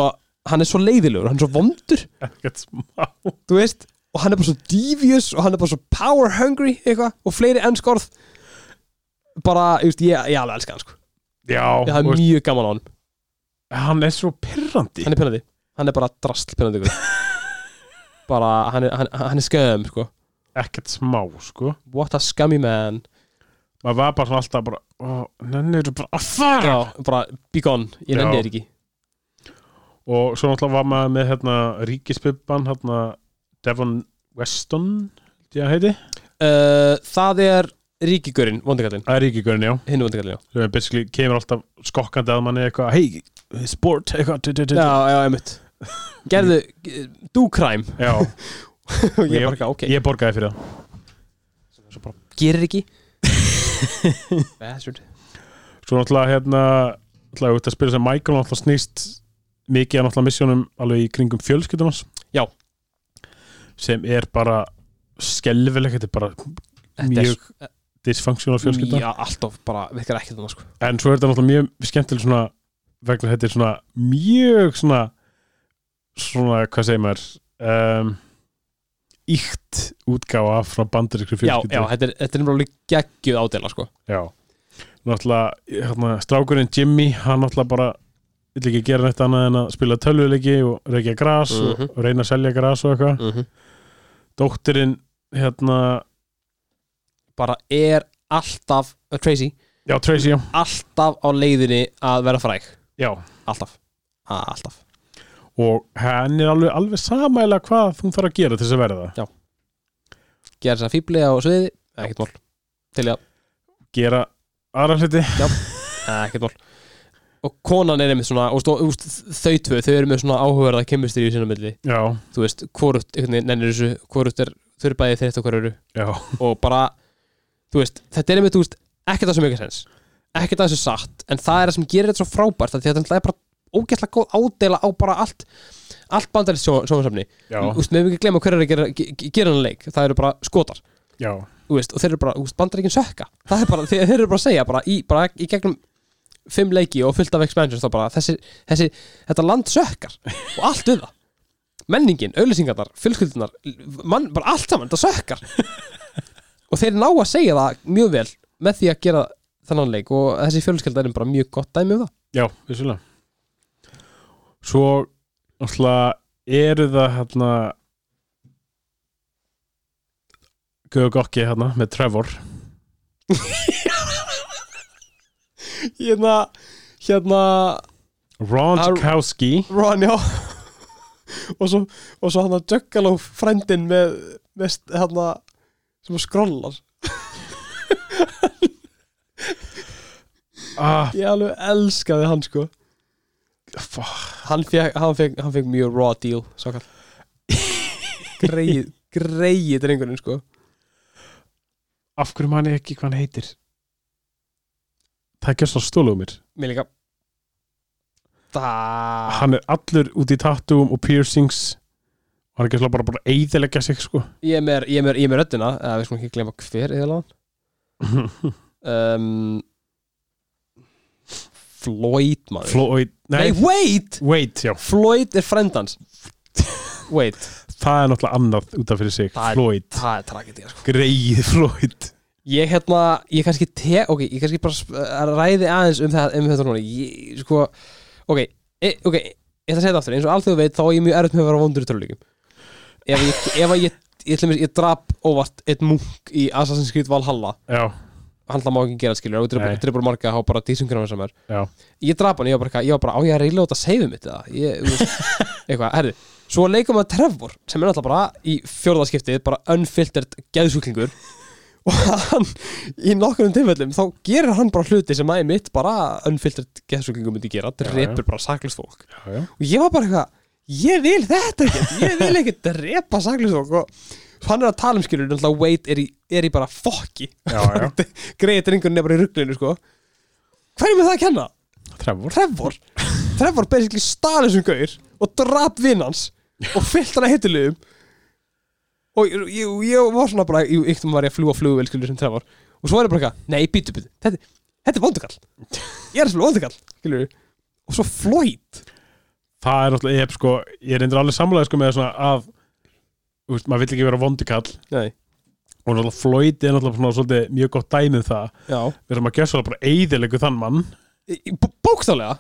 [SPEAKER 1] hann er svo leiðilegur, hann er svo vondur.
[SPEAKER 2] ekkert smá.
[SPEAKER 1] þú veist og hann er bara svo devious og hann er bara svo power hungry eitthvað og fleiri ennsk orð bara, ég veist, ég, ég alveg elska hann sko
[SPEAKER 2] Já,
[SPEAKER 1] ég það er
[SPEAKER 2] og veist,
[SPEAKER 1] mjög gaman á hann,
[SPEAKER 2] hann er svo pirrandi.
[SPEAKER 1] hann er pinnandi hann er bara drastl pinnandi guð. bara, hann er, hann, hann er sköðum sko
[SPEAKER 2] Ekkert smá, sko.
[SPEAKER 1] what a scummy man
[SPEAKER 2] Maður var bara svona alltaf bara, ó, nenni eru bara að fara.
[SPEAKER 1] Já, bara, be gone, ég
[SPEAKER 2] Já.
[SPEAKER 1] nefndi þér ekki
[SPEAKER 2] Og svo náttúrulega var maður með hérna ríkispippan, hérna Devon Weston, held ég að heiti.
[SPEAKER 1] uh, það er ríkigurinn, vondikallin
[SPEAKER 2] Það er ríkigurinn, já.
[SPEAKER 1] hinn er vondikallin, já
[SPEAKER 2] sem er basically kemur alltaf skokkandi að manni eitthvað, hei, sport eitthvað, du, du, du, du.
[SPEAKER 1] já, já, einmitt gerðu, do crime
[SPEAKER 2] já,
[SPEAKER 1] og ég
[SPEAKER 2] Ég-
[SPEAKER 1] bara, ok,
[SPEAKER 2] ég borgaði fyrir það
[SPEAKER 1] gerir ekki bastard
[SPEAKER 2] svo náttúrulega hérna náttúrulega út að spila sem Michael náttúrulega snýst mikið að náttúrulega missjónum alveg í kringum fjölskyldum hans
[SPEAKER 1] Já.
[SPEAKER 2] sem er bara skelfilegt, þetta er bara
[SPEAKER 1] Þetta er
[SPEAKER 2] mjög dysfunctional fjölskylda
[SPEAKER 1] Já, alltaf bara virkar ekki þannig sko.
[SPEAKER 2] en svo er þetta náttúrulega mjög skemmtileg svona vegna þetta er svona mjög svona svona, hvað segir maður um, íkt útgáfa af svona bandaríkri
[SPEAKER 1] Já,
[SPEAKER 2] fjölskyldu
[SPEAKER 1] já, þetta er, þetta er náttúrulega geggjuð ádela sko.
[SPEAKER 2] Já Náttúrulega, hérna, strákurinn Jimmy hann náttúrulega bara vill ekki gera neitt annað en að spila tölvuleiki og reykja gras
[SPEAKER 1] Mhm.
[SPEAKER 2] og reyna að selja gras og eitthvað
[SPEAKER 1] mm -hmm.
[SPEAKER 2] Dóttirinn hérna,
[SPEAKER 1] bara er alltaf uh, Tracy,
[SPEAKER 2] já, Tracy, já,
[SPEAKER 1] alltaf á leiðinni að vera fræg
[SPEAKER 2] já
[SPEAKER 1] alltaf, A, alltaf
[SPEAKER 2] og henni er alveg, alveg samæla hvað hún þarf að gera til þess að verða
[SPEAKER 1] gera þess að fíbli á sviði, ekkert mál til í að,
[SPEAKER 2] gera aðra hluti
[SPEAKER 1] ekkert mál og konan er einmitt svona, og stó, úst, þau tvö þau eru með svona áhugaverða kemistri í sinna milli
[SPEAKER 2] já,
[SPEAKER 1] þú veist, hvort, einhvern veginn nennir þessu hvort er, þau eru bæði þreytt á hverju
[SPEAKER 2] já,
[SPEAKER 1] og bara, þú veist, þetta er einmitt, þú veist, ekkert það sem ekki sens ekkert það sem er satt, en það er það sem gerir þetta svo frábært af því að þetta er bara ógæslega góð ádela á bara allt allt bandarist sjónvarsafni
[SPEAKER 2] já,
[SPEAKER 1] Þú veist, við hefum ekki glemma hverju er að gera, ge- ge- gera hann leik það eru bara skotar,
[SPEAKER 2] já
[SPEAKER 1] þú veist, og þeir eru bara þú veist, bandaríkin sökka, það er bara, þeir, þeir eru bara að segja bara í, bara í gegnum fimm leiki og fullt af expansions þá bara þessi, þessi, þetta land sökkar og allt við það menningin, auðlýsingarnar, fylskuldunar mann, bara allt saman, þetta sökkar og þeir ná að segja það mjög vel með því að gera þennan leik og þessi fjölskylda er bara mjög gott dæmi um það
[SPEAKER 2] já, vissulega svo, náttúrulega eru það hérna Guðu Gokki hérna með Trevor
[SPEAKER 1] hérna, hérna
[SPEAKER 2] Ron
[SPEAKER 1] Ar-
[SPEAKER 2] Kowski
[SPEAKER 1] Ron, já og svo, og svo hann að Juggalo frændin með, með hann að sem að skrollar
[SPEAKER 2] ah,
[SPEAKER 1] ég alveg elskaði hann sko
[SPEAKER 2] fuck.
[SPEAKER 1] hann fekk, hann fekk, hann fekk mjög raw deal svakar greið, greið drengurinn sko
[SPEAKER 2] af hverju manni ekki hvað hann heitir það er gjössan stóluð mér
[SPEAKER 1] mér líka það
[SPEAKER 2] hann er allur út í tattúum og piercings og hann er gjössan bara bara að eyðileggja sig sko
[SPEAKER 1] ég er með, ég er með, ég er með röddina eða við skulum ekki glemma hver eða hann um, Floyd maður
[SPEAKER 2] Floyd, nei,
[SPEAKER 1] nei, wait
[SPEAKER 2] wait, já
[SPEAKER 1] Floyd er frændans wait
[SPEAKER 2] það er náttúrulega annað út af fyrir sig
[SPEAKER 1] Það er-
[SPEAKER 2] Floyd,
[SPEAKER 1] það er tragedía sko
[SPEAKER 2] greið Floyd
[SPEAKER 1] ég hérna, ég kannski te, ok, ég kannski bara sp- að ræði aðeins um það, um þetta núna ég, sko, ok e, ok, ég ætla að segja þetta aftur, eins og alþjóð veit þá er ég mjög erfitt með að vera vondur í töluleikum ef ég, ef að ég, ég ætlum ég drap óvart eitt munk í Assassin's Creed Valhalla
[SPEAKER 2] já,
[SPEAKER 1] hann það má ekki gera skilur, ef
[SPEAKER 2] Nei.
[SPEAKER 1] þú drefur marga þá bara dísungur á þessum er
[SPEAKER 2] Já.
[SPEAKER 1] ég drap hann, ég var bara, eitthvað- ég var bara á ég að reyla út að seifu mitt eða, ég, þú veist, eitthvað, herri svo leikum við Trevor, sem er náttúrulega bara í fjórðaskiptið, bara unfiltered geðsjúklingur og hann í nokkurnum tilfellum, þá gerir hann bara hluti sem aðeins mitt bara unfiltered geðsjúklingur myndi gera,
[SPEAKER 2] já.
[SPEAKER 1] drepur bara saklust fólk
[SPEAKER 2] já, já,
[SPEAKER 1] og ég var bara eitthvað ég vil þetta ekki, ég vil ekki drepa saklisvokk og svo hann er að tala um skilur náttúrulega Wade er í, er í bara fokki
[SPEAKER 2] Já, já.
[SPEAKER 1] greið drengurinn er bara í rugglinu sko hverjum er það að kenna?
[SPEAKER 2] Trevor
[SPEAKER 1] Trevor Trevor basically stali þessum gaur og drap vinn hans og fyllt hann að hittilegum og ég, ég, ég var svona bara ég yktum var ég að fljúa flugvél skilur sem Trevor og svo er ég bara eitthvað, nei býtu býtu þetta, þetta er vondukall ég er að spila vondukall skilur og svo Floyd
[SPEAKER 2] það er náttúrulega, ég hef sko, ég reyndir alveg samlega sko með svona að þú veist, maður vill ekki vera vondikall
[SPEAKER 1] nei,
[SPEAKER 2] og náttúrulega Floyd er náttúrulega svona svolítið mjög gott dæmið það
[SPEAKER 1] já
[SPEAKER 2] við erum að gjösa bara eyðilegu þann mann
[SPEAKER 1] Bóktálega?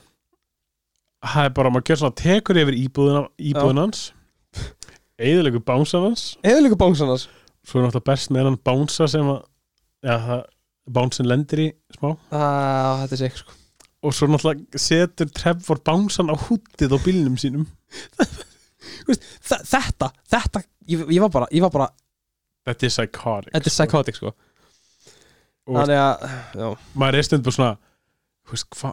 [SPEAKER 2] það er bara að maður gjösa svona tekur yfir íbúðina, íbúðin hans eyðilegu bánsa hans
[SPEAKER 1] Eða líka bóngsannars
[SPEAKER 2] svo er náttúrulega best með hann bánsa sem að ja, það, bánsin lendir í smá
[SPEAKER 1] ah, Þetta er sér sko
[SPEAKER 2] og svo náttúrulega setur Trevor bánsan á húttið á bílnum sínum
[SPEAKER 1] Þa, Þetta, þetta, ég, ég var bara, ég var bara
[SPEAKER 2] þetta er psychotic
[SPEAKER 1] Þetta er psychotic sko
[SPEAKER 2] Og-
[SPEAKER 1] Þannig að, já
[SPEAKER 2] maður er stundum bara svona þú veist, hva,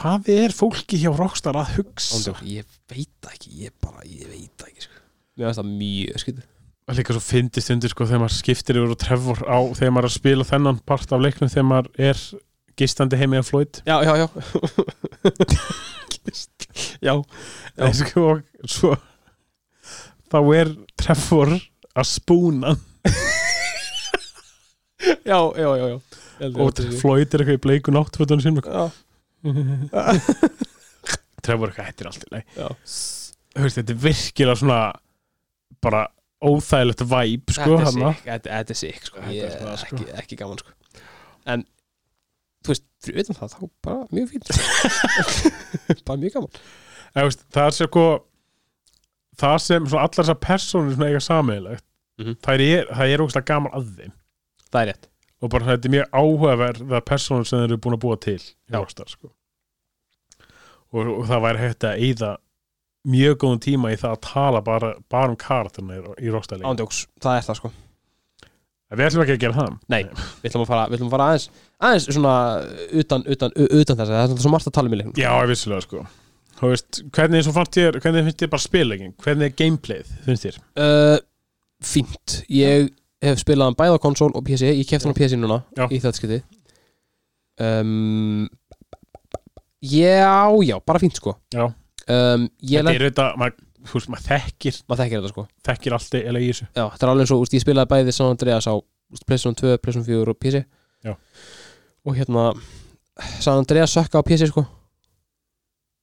[SPEAKER 2] hvað er fólki hjá Rockstar að hugsa
[SPEAKER 1] Ándjók, Ég veit það ekki, ég bara, ég veit það ekki sko Mér finnst það mjög skytið
[SPEAKER 2] og líka svo fyndi stundur sko þegar maður skiptir yfir og Trevor á þegar maður er að spila þennan part af leiknum þegar maður er gistandi heimi af Floyd
[SPEAKER 1] Já, já, já Já, Já.
[SPEAKER 2] Nei, sko, og svo þá er Trevor að spúna hann
[SPEAKER 1] já, já, já, já. Ég held ég
[SPEAKER 2] og
[SPEAKER 1] veit það ekki.
[SPEAKER 2] Floyd er eitthvað í bleiku náttfötunum sínum
[SPEAKER 1] Já,
[SPEAKER 2] Trevor eitthvað hættir allt í lei
[SPEAKER 1] já
[SPEAKER 2] Þú veist, þetta er virkilega svona bara óþægilegt væp sko
[SPEAKER 1] Þetta er
[SPEAKER 2] hann
[SPEAKER 1] sick, þetta- þetta er sick sko
[SPEAKER 2] Þetta er
[SPEAKER 1] Ég er
[SPEAKER 2] það, sko.
[SPEAKER 1] ekki, ekki gaman sko En, þú veist, fyrir utan það, þá bara mjög fínt Bara mjög gaman
[SPEAKER 2] Eða, veist, það er sér sko það sem svona allar þessar personur svona eiga sameiginlegt
[SPEAKER 1] Mhm.
[SPEAKER 2] það, er, það er ógstlega gaman að þeim
[SPEAKER 1] það er rétt
[SPEAKER 2] og bara þetta er mjög áhugaverða persónum sem þeir eru búin að búa til í
[SPEAKER 1] Já.
[SPEAKER 2] Rockstar, sko. og, og það væri hægt að eyða mjög góðum tíma í það að tala bara, bara um karakterna í- í Rockstar leik
[SPEAKER 1] ándjóks, það er það sko
[SPEAKER 2] við ætlum ekki að gera það
[SPEAKER 1] Nei, við ætlum að fara, við ætlum að fara aðeins aðeins svona utan, utan, u- utan þess að það er svo margt að tala um í leiknum
[SPEAKER 2] já, ég vissulega sko Þú veist, hvernig, svo fannst þér, hvernig finnst þér bara spillegin hvernig er gameplayð, finnst þér
[SPEAKER 1] uh, Fínt, ég hef spilað hann bæði á konsól og PC, ég kefti hann á PC núna
[SPEAKER 2] Já.
[SPEAKER 1] í þetta skiti um, Já, já, bara fínt sko
[SPEAKER 2] Já.
[SPEAKER 1] um, Ég
[SPEAKER 2] þetta
[SPEAKER 1] lent,
[SPEAKER 2] er auðvitað, maður, þú veist, maður þekkir
[SPEAKER 1] maður þekkir þetta sko
[SPEAKER 2] þekkir allt eða í þessu
[SPEAKER 1] Já, þetta er alveg eins og, úst, ég spilaði bæði San Andreas á úst, PlayStation 2, PlayStation 4 og PC
[SPEAKER 2] Já.
[SPEAKER 1] Og hérna San Andreas sökka á PC sko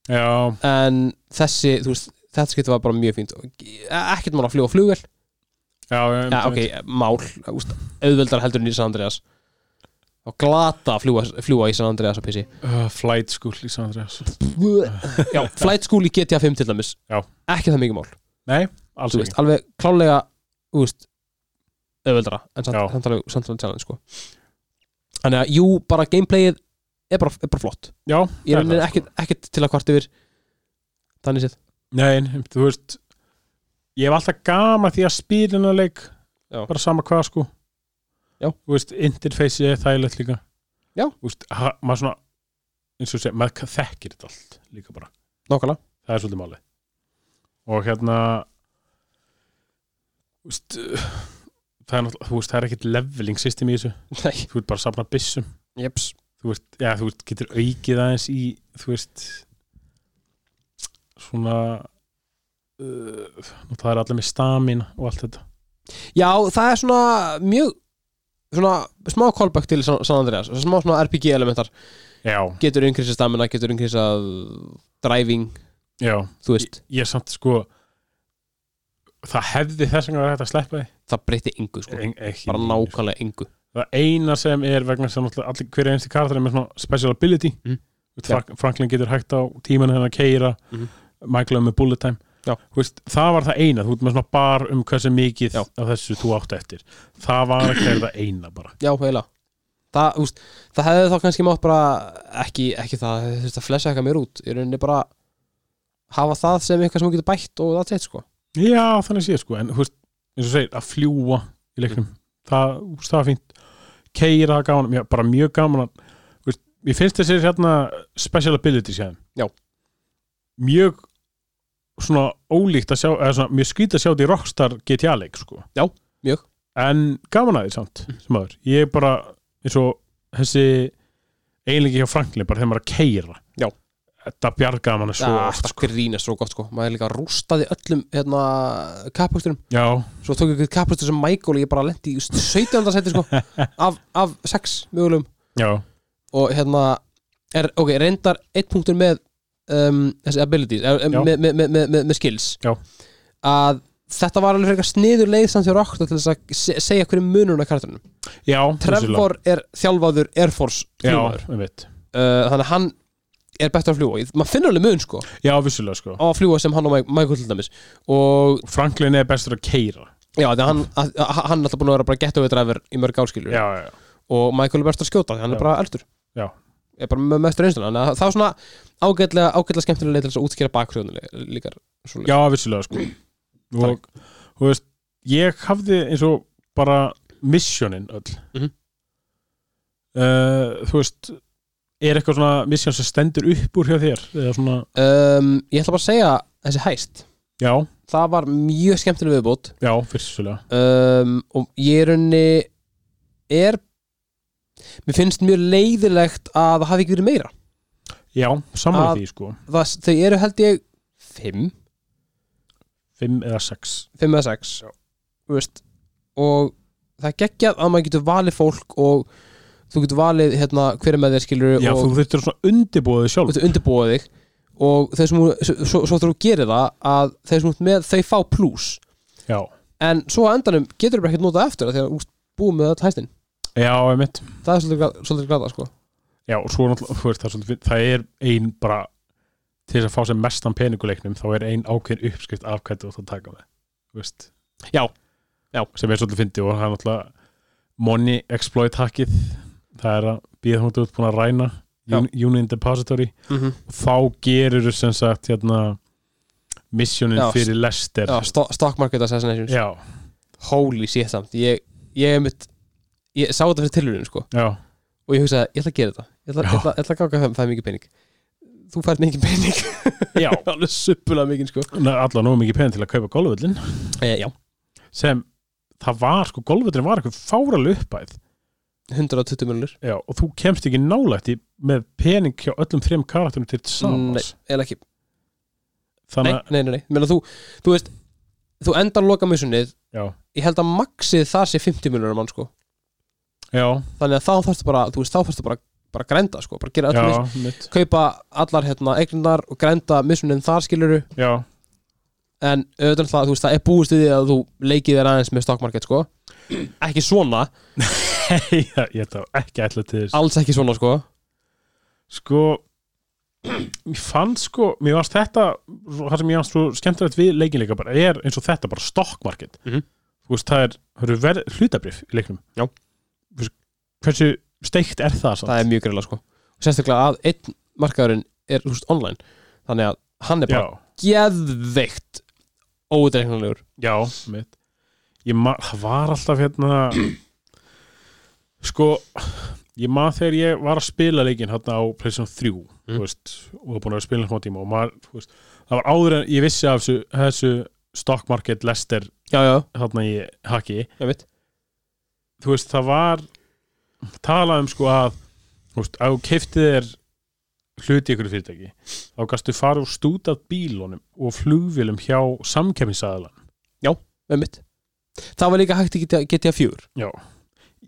[SPEAKER 2] já,
[SPEAKER 1] En þessi, þú veist, þetta skipti var bara mjög fínt Og e- Ekkert mál að fljúa flugvel
[SPEAKER 2] já, um,
[SPEAKER 1] Já, ok, mál, úst, auðveldar heldur en í San Andreas Og glata að fljúa, fljúa í San Andreas á PC
[SPEAKER 2] uh, flight school í San Andreas
[SPEAKER 1] Já, Flight School í GTA 5 til dæmis
[SPEAKER 2] Já.
[SPEAKER 1] Ekki það mikið mál
[SPEAKER 2] nei, alls
[SPEAKER 1] Þú
[SPEAKER 2] ekki
[SPEAKER 1] veist, alveg klálega, þú veist auðveldara En
[SPEAKER 2] Já.
[SPEAKER 1] samt- samt alveg- samt alveg challenge, sko Þannig að, jú, bara gameplayið er bara, er bara flott
[SPEAKER 2] já,
[SPEAKER 1] Ég
[SPEAKER 2] það
[SPEAKER 1] er
[SPEAKER 2] það, sko.
[SPEAKER 1] ekkert, ekkert til að kvart yfir Þannig séð
[SPEAKER 2] Nei, en, þú veist ég hef alltaf gama því að spila hennar leik
[SPEAKER 1] Já.
[SPEAKER 2] bara sama hvað sko
[SPEAKER 1] Já.
[SPEAKER 2] þú veist, interfaceið er þægilegt líka
[SPEAKER 1] Já.
[SPEAKER 2] þú veist, ha, maður svona eins og segja, maður þekkir þetta allt líka bara,
[SPEAKER 1] Nákvæmlega
[SPEAKER 2] það er svolítið máli og hérna þú veist uh, það er, náttúrulega- þú veist, það er ekkert leveling system í þessu,
[SPEAKER 1] Nei,
[SPEAKER 2] þú veist bara að safna byssum
[SPEAKER 1] jeps
[SPEAKER 2] þú veist, já, þú veist, getur aukið aðeins í, þú veist svona uh, nú það er allir með stamina og allt þetta
[SPEAKER 1] Já, það er svona mjög svona smá callback til San San Andreas smá svona RPG elementar
[SPEAKER 2] já,
[SPEAKER 1] getur yngriðsa stamina, getur yngriðsa driving,
[SPEAKER 2] já,
[SPEAKER 1] þú veist
[SPEAKER 2] ég samt sko það hefði þess vegna verið hægt að sleppa því
[SPEAKER 1] það breytir yngu sko,
[SPEAKER 2] Eng- ekki
[SPEAKER 1] bara
[SPEAKER 2] mínir.
[SPEAKER 1] nákvæmlega yngu
[SPEAKER 2] það eina sem er vegna sem náttúrulega allir hverja einstu karakter er með svona special ability
[SPEAKER 1] Mhm.
[SPEAKER 2] Þú veist, Frank, Franklin getur hægt á tíman hennar að keira
[SPEAKER 1] Mhm.
[SPEAKER 2] Michael er með bullet time
[SPEAKER 1] Já.
[SPEAKER 2] Þú veist, það var það eina, þú veist með svona bar um hversu mikið
[SPEAKER 1] Já.
[SPEAKER 2] af þessu þú átt eftir það var að hverja það eina bara
[SPEAKER 1] Já, heila Það, úst, það hefði þá kannski mátt bara ekki, ekki það, þú veist að flessa eitthvað mér út í rauninni bara hafa það sem eitthvað sem þú getur bætt og það teitt sko
[SPEAKER 2] Já, þannig sé sko, en þú veist, eins og segir, að fljúa í leiknum,
[SPEAKER 1] Mm.
[SPEAKER 2] það, þú veist, það er fínt keira gaman, mjög, bara mjög gaman að, þú veist, ég finnst þessi hérna special abilities hérna
[SPEAKER 1] Já.
[SPEAKER 2] Mjög svona ólíkt að sjá, eða svona mjög skrýt að sjá því Rockstar GTA leik sko
[SPEAKER 1] Já, mjög. Mm.
[SPEAKER 2] En gaman að því samt, sem aður, ég er bara eins og þessi eiginleiki hjá Franklin, bara þegar maður er að keira
[SPEAKER 1] Já.
[SPEAKER 2] Þetta bjargaði manna svo
[SPEAKER 1] Ah, Það
[SPEAKER 2] oft,
[SPEAKER 1] alltaf
[SPEAKER 2] sko.
[SPEAKER 1] grínast svo gott sko maður líka rústaði öllum hérna, kappasturum
[SPEAKER 2] Já,
[SPEAKER 1] svo tók ég kapastur sem Michael og ég bara lendi í 17. seti sko af, af 6 mögulegum
[SPEAKER 2] já,
[SPEAKER 1] og hérna er, ok, reyndar eitt punktur með um, þessi abilities, er,
[SPEAKER 2] Já.
[SPEAKER 1] með, með, með, með, með, með skills
[SPEAKER 2] Já.
[SPEAKER 1] að þetta var alveg frekar sniður leið samt hjá Rockstar til þess að se- segja hverju munurinn að karakterinu
[SPEAKER 2] já vissulega.
[SPEAKER 1] Trevor er þjálfaður Air Force
[SPEAKER 2] Já,
[SPEAKER 1] fljúmaður
[SPEAKER 2] ég veit
[SPEAKER 1] uh, þannig að hann er betur að fljúa Ég- maður finnur alveg mun sko á
[SPEAKER 2] Já, vissulega sko
[SPEAKER 1] að fljúa sem hann og Mike- Michael til dæmis og
[SPEAKER 2] Franklin er bestur að keira
[SPEAKER 1] já, þannig að hann, að, að, hann er alltaf búin að vera bara gett over driver í mörg áskilur
[SPEAKER 2] Já, já, já
[SPEAKER 1] og Michael er best að skjóta hann er
[SPEAKER 2] Já.
[SPEAKER 1] bara eldur
[SPEAKER 2] Já.
[SPEAKER 1] er bara með mestur einstuna þannig að það er svona ágætlega, ágætlega skemmtilega leið til þess að útskýra bakhrjóðinu líka svona
[SPEAKER 2] Já, vissulega sko Og, þú veist, ég hafði eins og bara missionin öll
[SPEAKER 1] Mhm.
[SPEAKER 2] uh, Þú veist Er eitthvað svona mission sem stendur upp úr hjá þér? Eða svona,
[SPEAKER 1] um, ég ætla bara að segja þessi hæst
[SPEAKER 2] já,
[SPEAKER 1] það var mjög skemmtilega viðbót
[SPEAKER 2] já, vissulega
[SPEAKER 1] um, og ég er unni er mér finnst mjög leiðilegt að það hafi ekki verið meira
[SPEAKER 2] Já, samanlega
[SPEAKER 1] Að-
[SPEAKER 2] því sko
[SPEAKER 1] það, þau eru held ég fimm,
[SPEAKER 2] Fimm eða sex
[SPEAKER 1] fimm eða sex Þú veist, og það er geggjað að maður getur valið fólk og þú getur valið hérna, hver er með þér skilur
[SPEAKER 2] Já,
[SPEAKER 1] og
[SPEAKER 2] þú þurftur svona undirbúið sjálf
[SPEAKER 1] þú undirbúa þig og þeir sem, þú- svo, svo, svo þegar þú gerir það að þeir sem þú ert með, þau fá plus
[SPEAKER 2] Já,
[SPEAKER 1] en svo á endanum getur þú bara ekkert notað eftir það þegar þú ert búið með all hæstin
[SPEAKER 2] já, ég mitt
[SPEAKER 1] það er svolítið, glað, svolítið glada sko
[SPEAKER 2] Já, og svo náttúrulega, þú veist, það er svolítið fínt. það er ein bara til þess að fá sem mestan peninguleiknum, þá er ein ákveðin uppskrift af hvernig þú ætti að taka með, þú veist
[SPEAKER 1] Já. Já.
[SPEAKER 2] sem er svolítið fyndi og það er náttúrulega money exploit hackið það er að býða hún út búin að ræna
[SPEAKER 1] Já.
[SPEAKER 2] Un- Union Depository
[SPEAKER 1] mm -hmm.
[SPEAKER 2] og þá gerur sem sagt hérna missionin
[SPEAKER 1] Já,
[SPEAKER 2] fyrir Lester
[SPEAKER 1] Já, sto stock market assassinations
[SPEAKER 2] já,
[SPEAKER 1] Holy shit samt Ég, ég, mitt, ég sá þetta fyrir tilurinn sko
[SPEAKER 2] já,
[SPEAKER 1] og ég hugsaði, ég ætla að gera þetta ég ætla,
[SPEAKER 2] Já.
[SPEAKER 1] ég ætla, ég ætla að ganga það, það er mikið pening þú fært mikið pening
[SPEAKER 2] já.
[SPEAKER 1] alveg suppulega mikið sko
[SPEAKER 2] Ná, allan nóg mikið penn til að kaupa golfvöllin
[SPEAKER 1] e,
[SPEAKER 2] Eh,
[SPEAKER 1] já,
[SPEAKER 2] sem það var sko, golfvöllin var eitthvað fáralu uppæð
[SPEAKER 1] 120 miljonur
[SPEAKER 2] já, og þú kemst ekki nálægt í með pening hjá öllum þrem karakterum til samans
[SPEAKER 1] eða ekki, Mm, nei,
[SPEAKER 2] þannig að,
[SPEAKER 1] nei, nei, nei. Meina, þú, þú veist, þú endar loka missunnið
[SPEAKER 2] já,
[SPEAKER 1] ég held að maxið það sé 50 miljonar mann sko
[SPEAKER 2] já,
[SPEAKER 1] þannig að þá þarfstu bara, þú veist, þá þarfstu bara bara grænda sko, bara gera öllum
[SPEAKER 2] já, mitt,
[SPEAKER 1] kaupa allar hérna eignar og grænda missunnið þar skiluru
[SPEAKER 2] já,
[SPEAKER 1] en auðvitað það, þú veist, það er búist við því að þú leikið þér aðeins með stokkmarkett sko ekki svona,
[SPEAKER 2] ég þetta var ekki ætla til þess
[SPEAKER 1] alls ekki svona sko
[SPEAKER 2] sko mér fannst sko, mér varst þetta það sem mér varst svo skemmtilegt við leikinleika bara er eins og þetta bara stock market
[SPEAKER 1] Mhm.
[SPEAKER 2] þú veist, það er, það eru verð, hlutabrif í leiknum
[SPEAKER 1] Já.
[SPEAKER 2] Þú veist, hversu steikt er það samt
[SPEAKER 1] það er mjög greiðlega sko og sérstaklega að einn markaðurinn er þú veist, online þannig að hann er
[SPEAKER 2] já,
[SPEAKER 1] bara geðveikt óutreiknulegur
[SPEAKER 2] já, mitt ég ma, það var alltaf hérna sko ég maður þegar ég var að spila leikin hérna á Playstation 3
[SPEAKER 1] Mhm.
[SPEAKER 2] þú veist, og var búin að vera að spila hérna tíma og maður, þú veist, það var áður en ég vissi af þessu, þessu stock market lester
[SPEAKER 1] já, já,
[SPEAKER 2] þarna í haki
[SPEAKER 1] ég veit
[SPEAKER 2] þú veist það var talað um sko að þú veist, að þú keftið þér hluti ykkur fyrirtæki þá gastu fara og stútað bílunum og flugvélum hjá samkemmisaðalan
[SPEAKER 1] með mitt það var líka hægt í GTA, GTA 4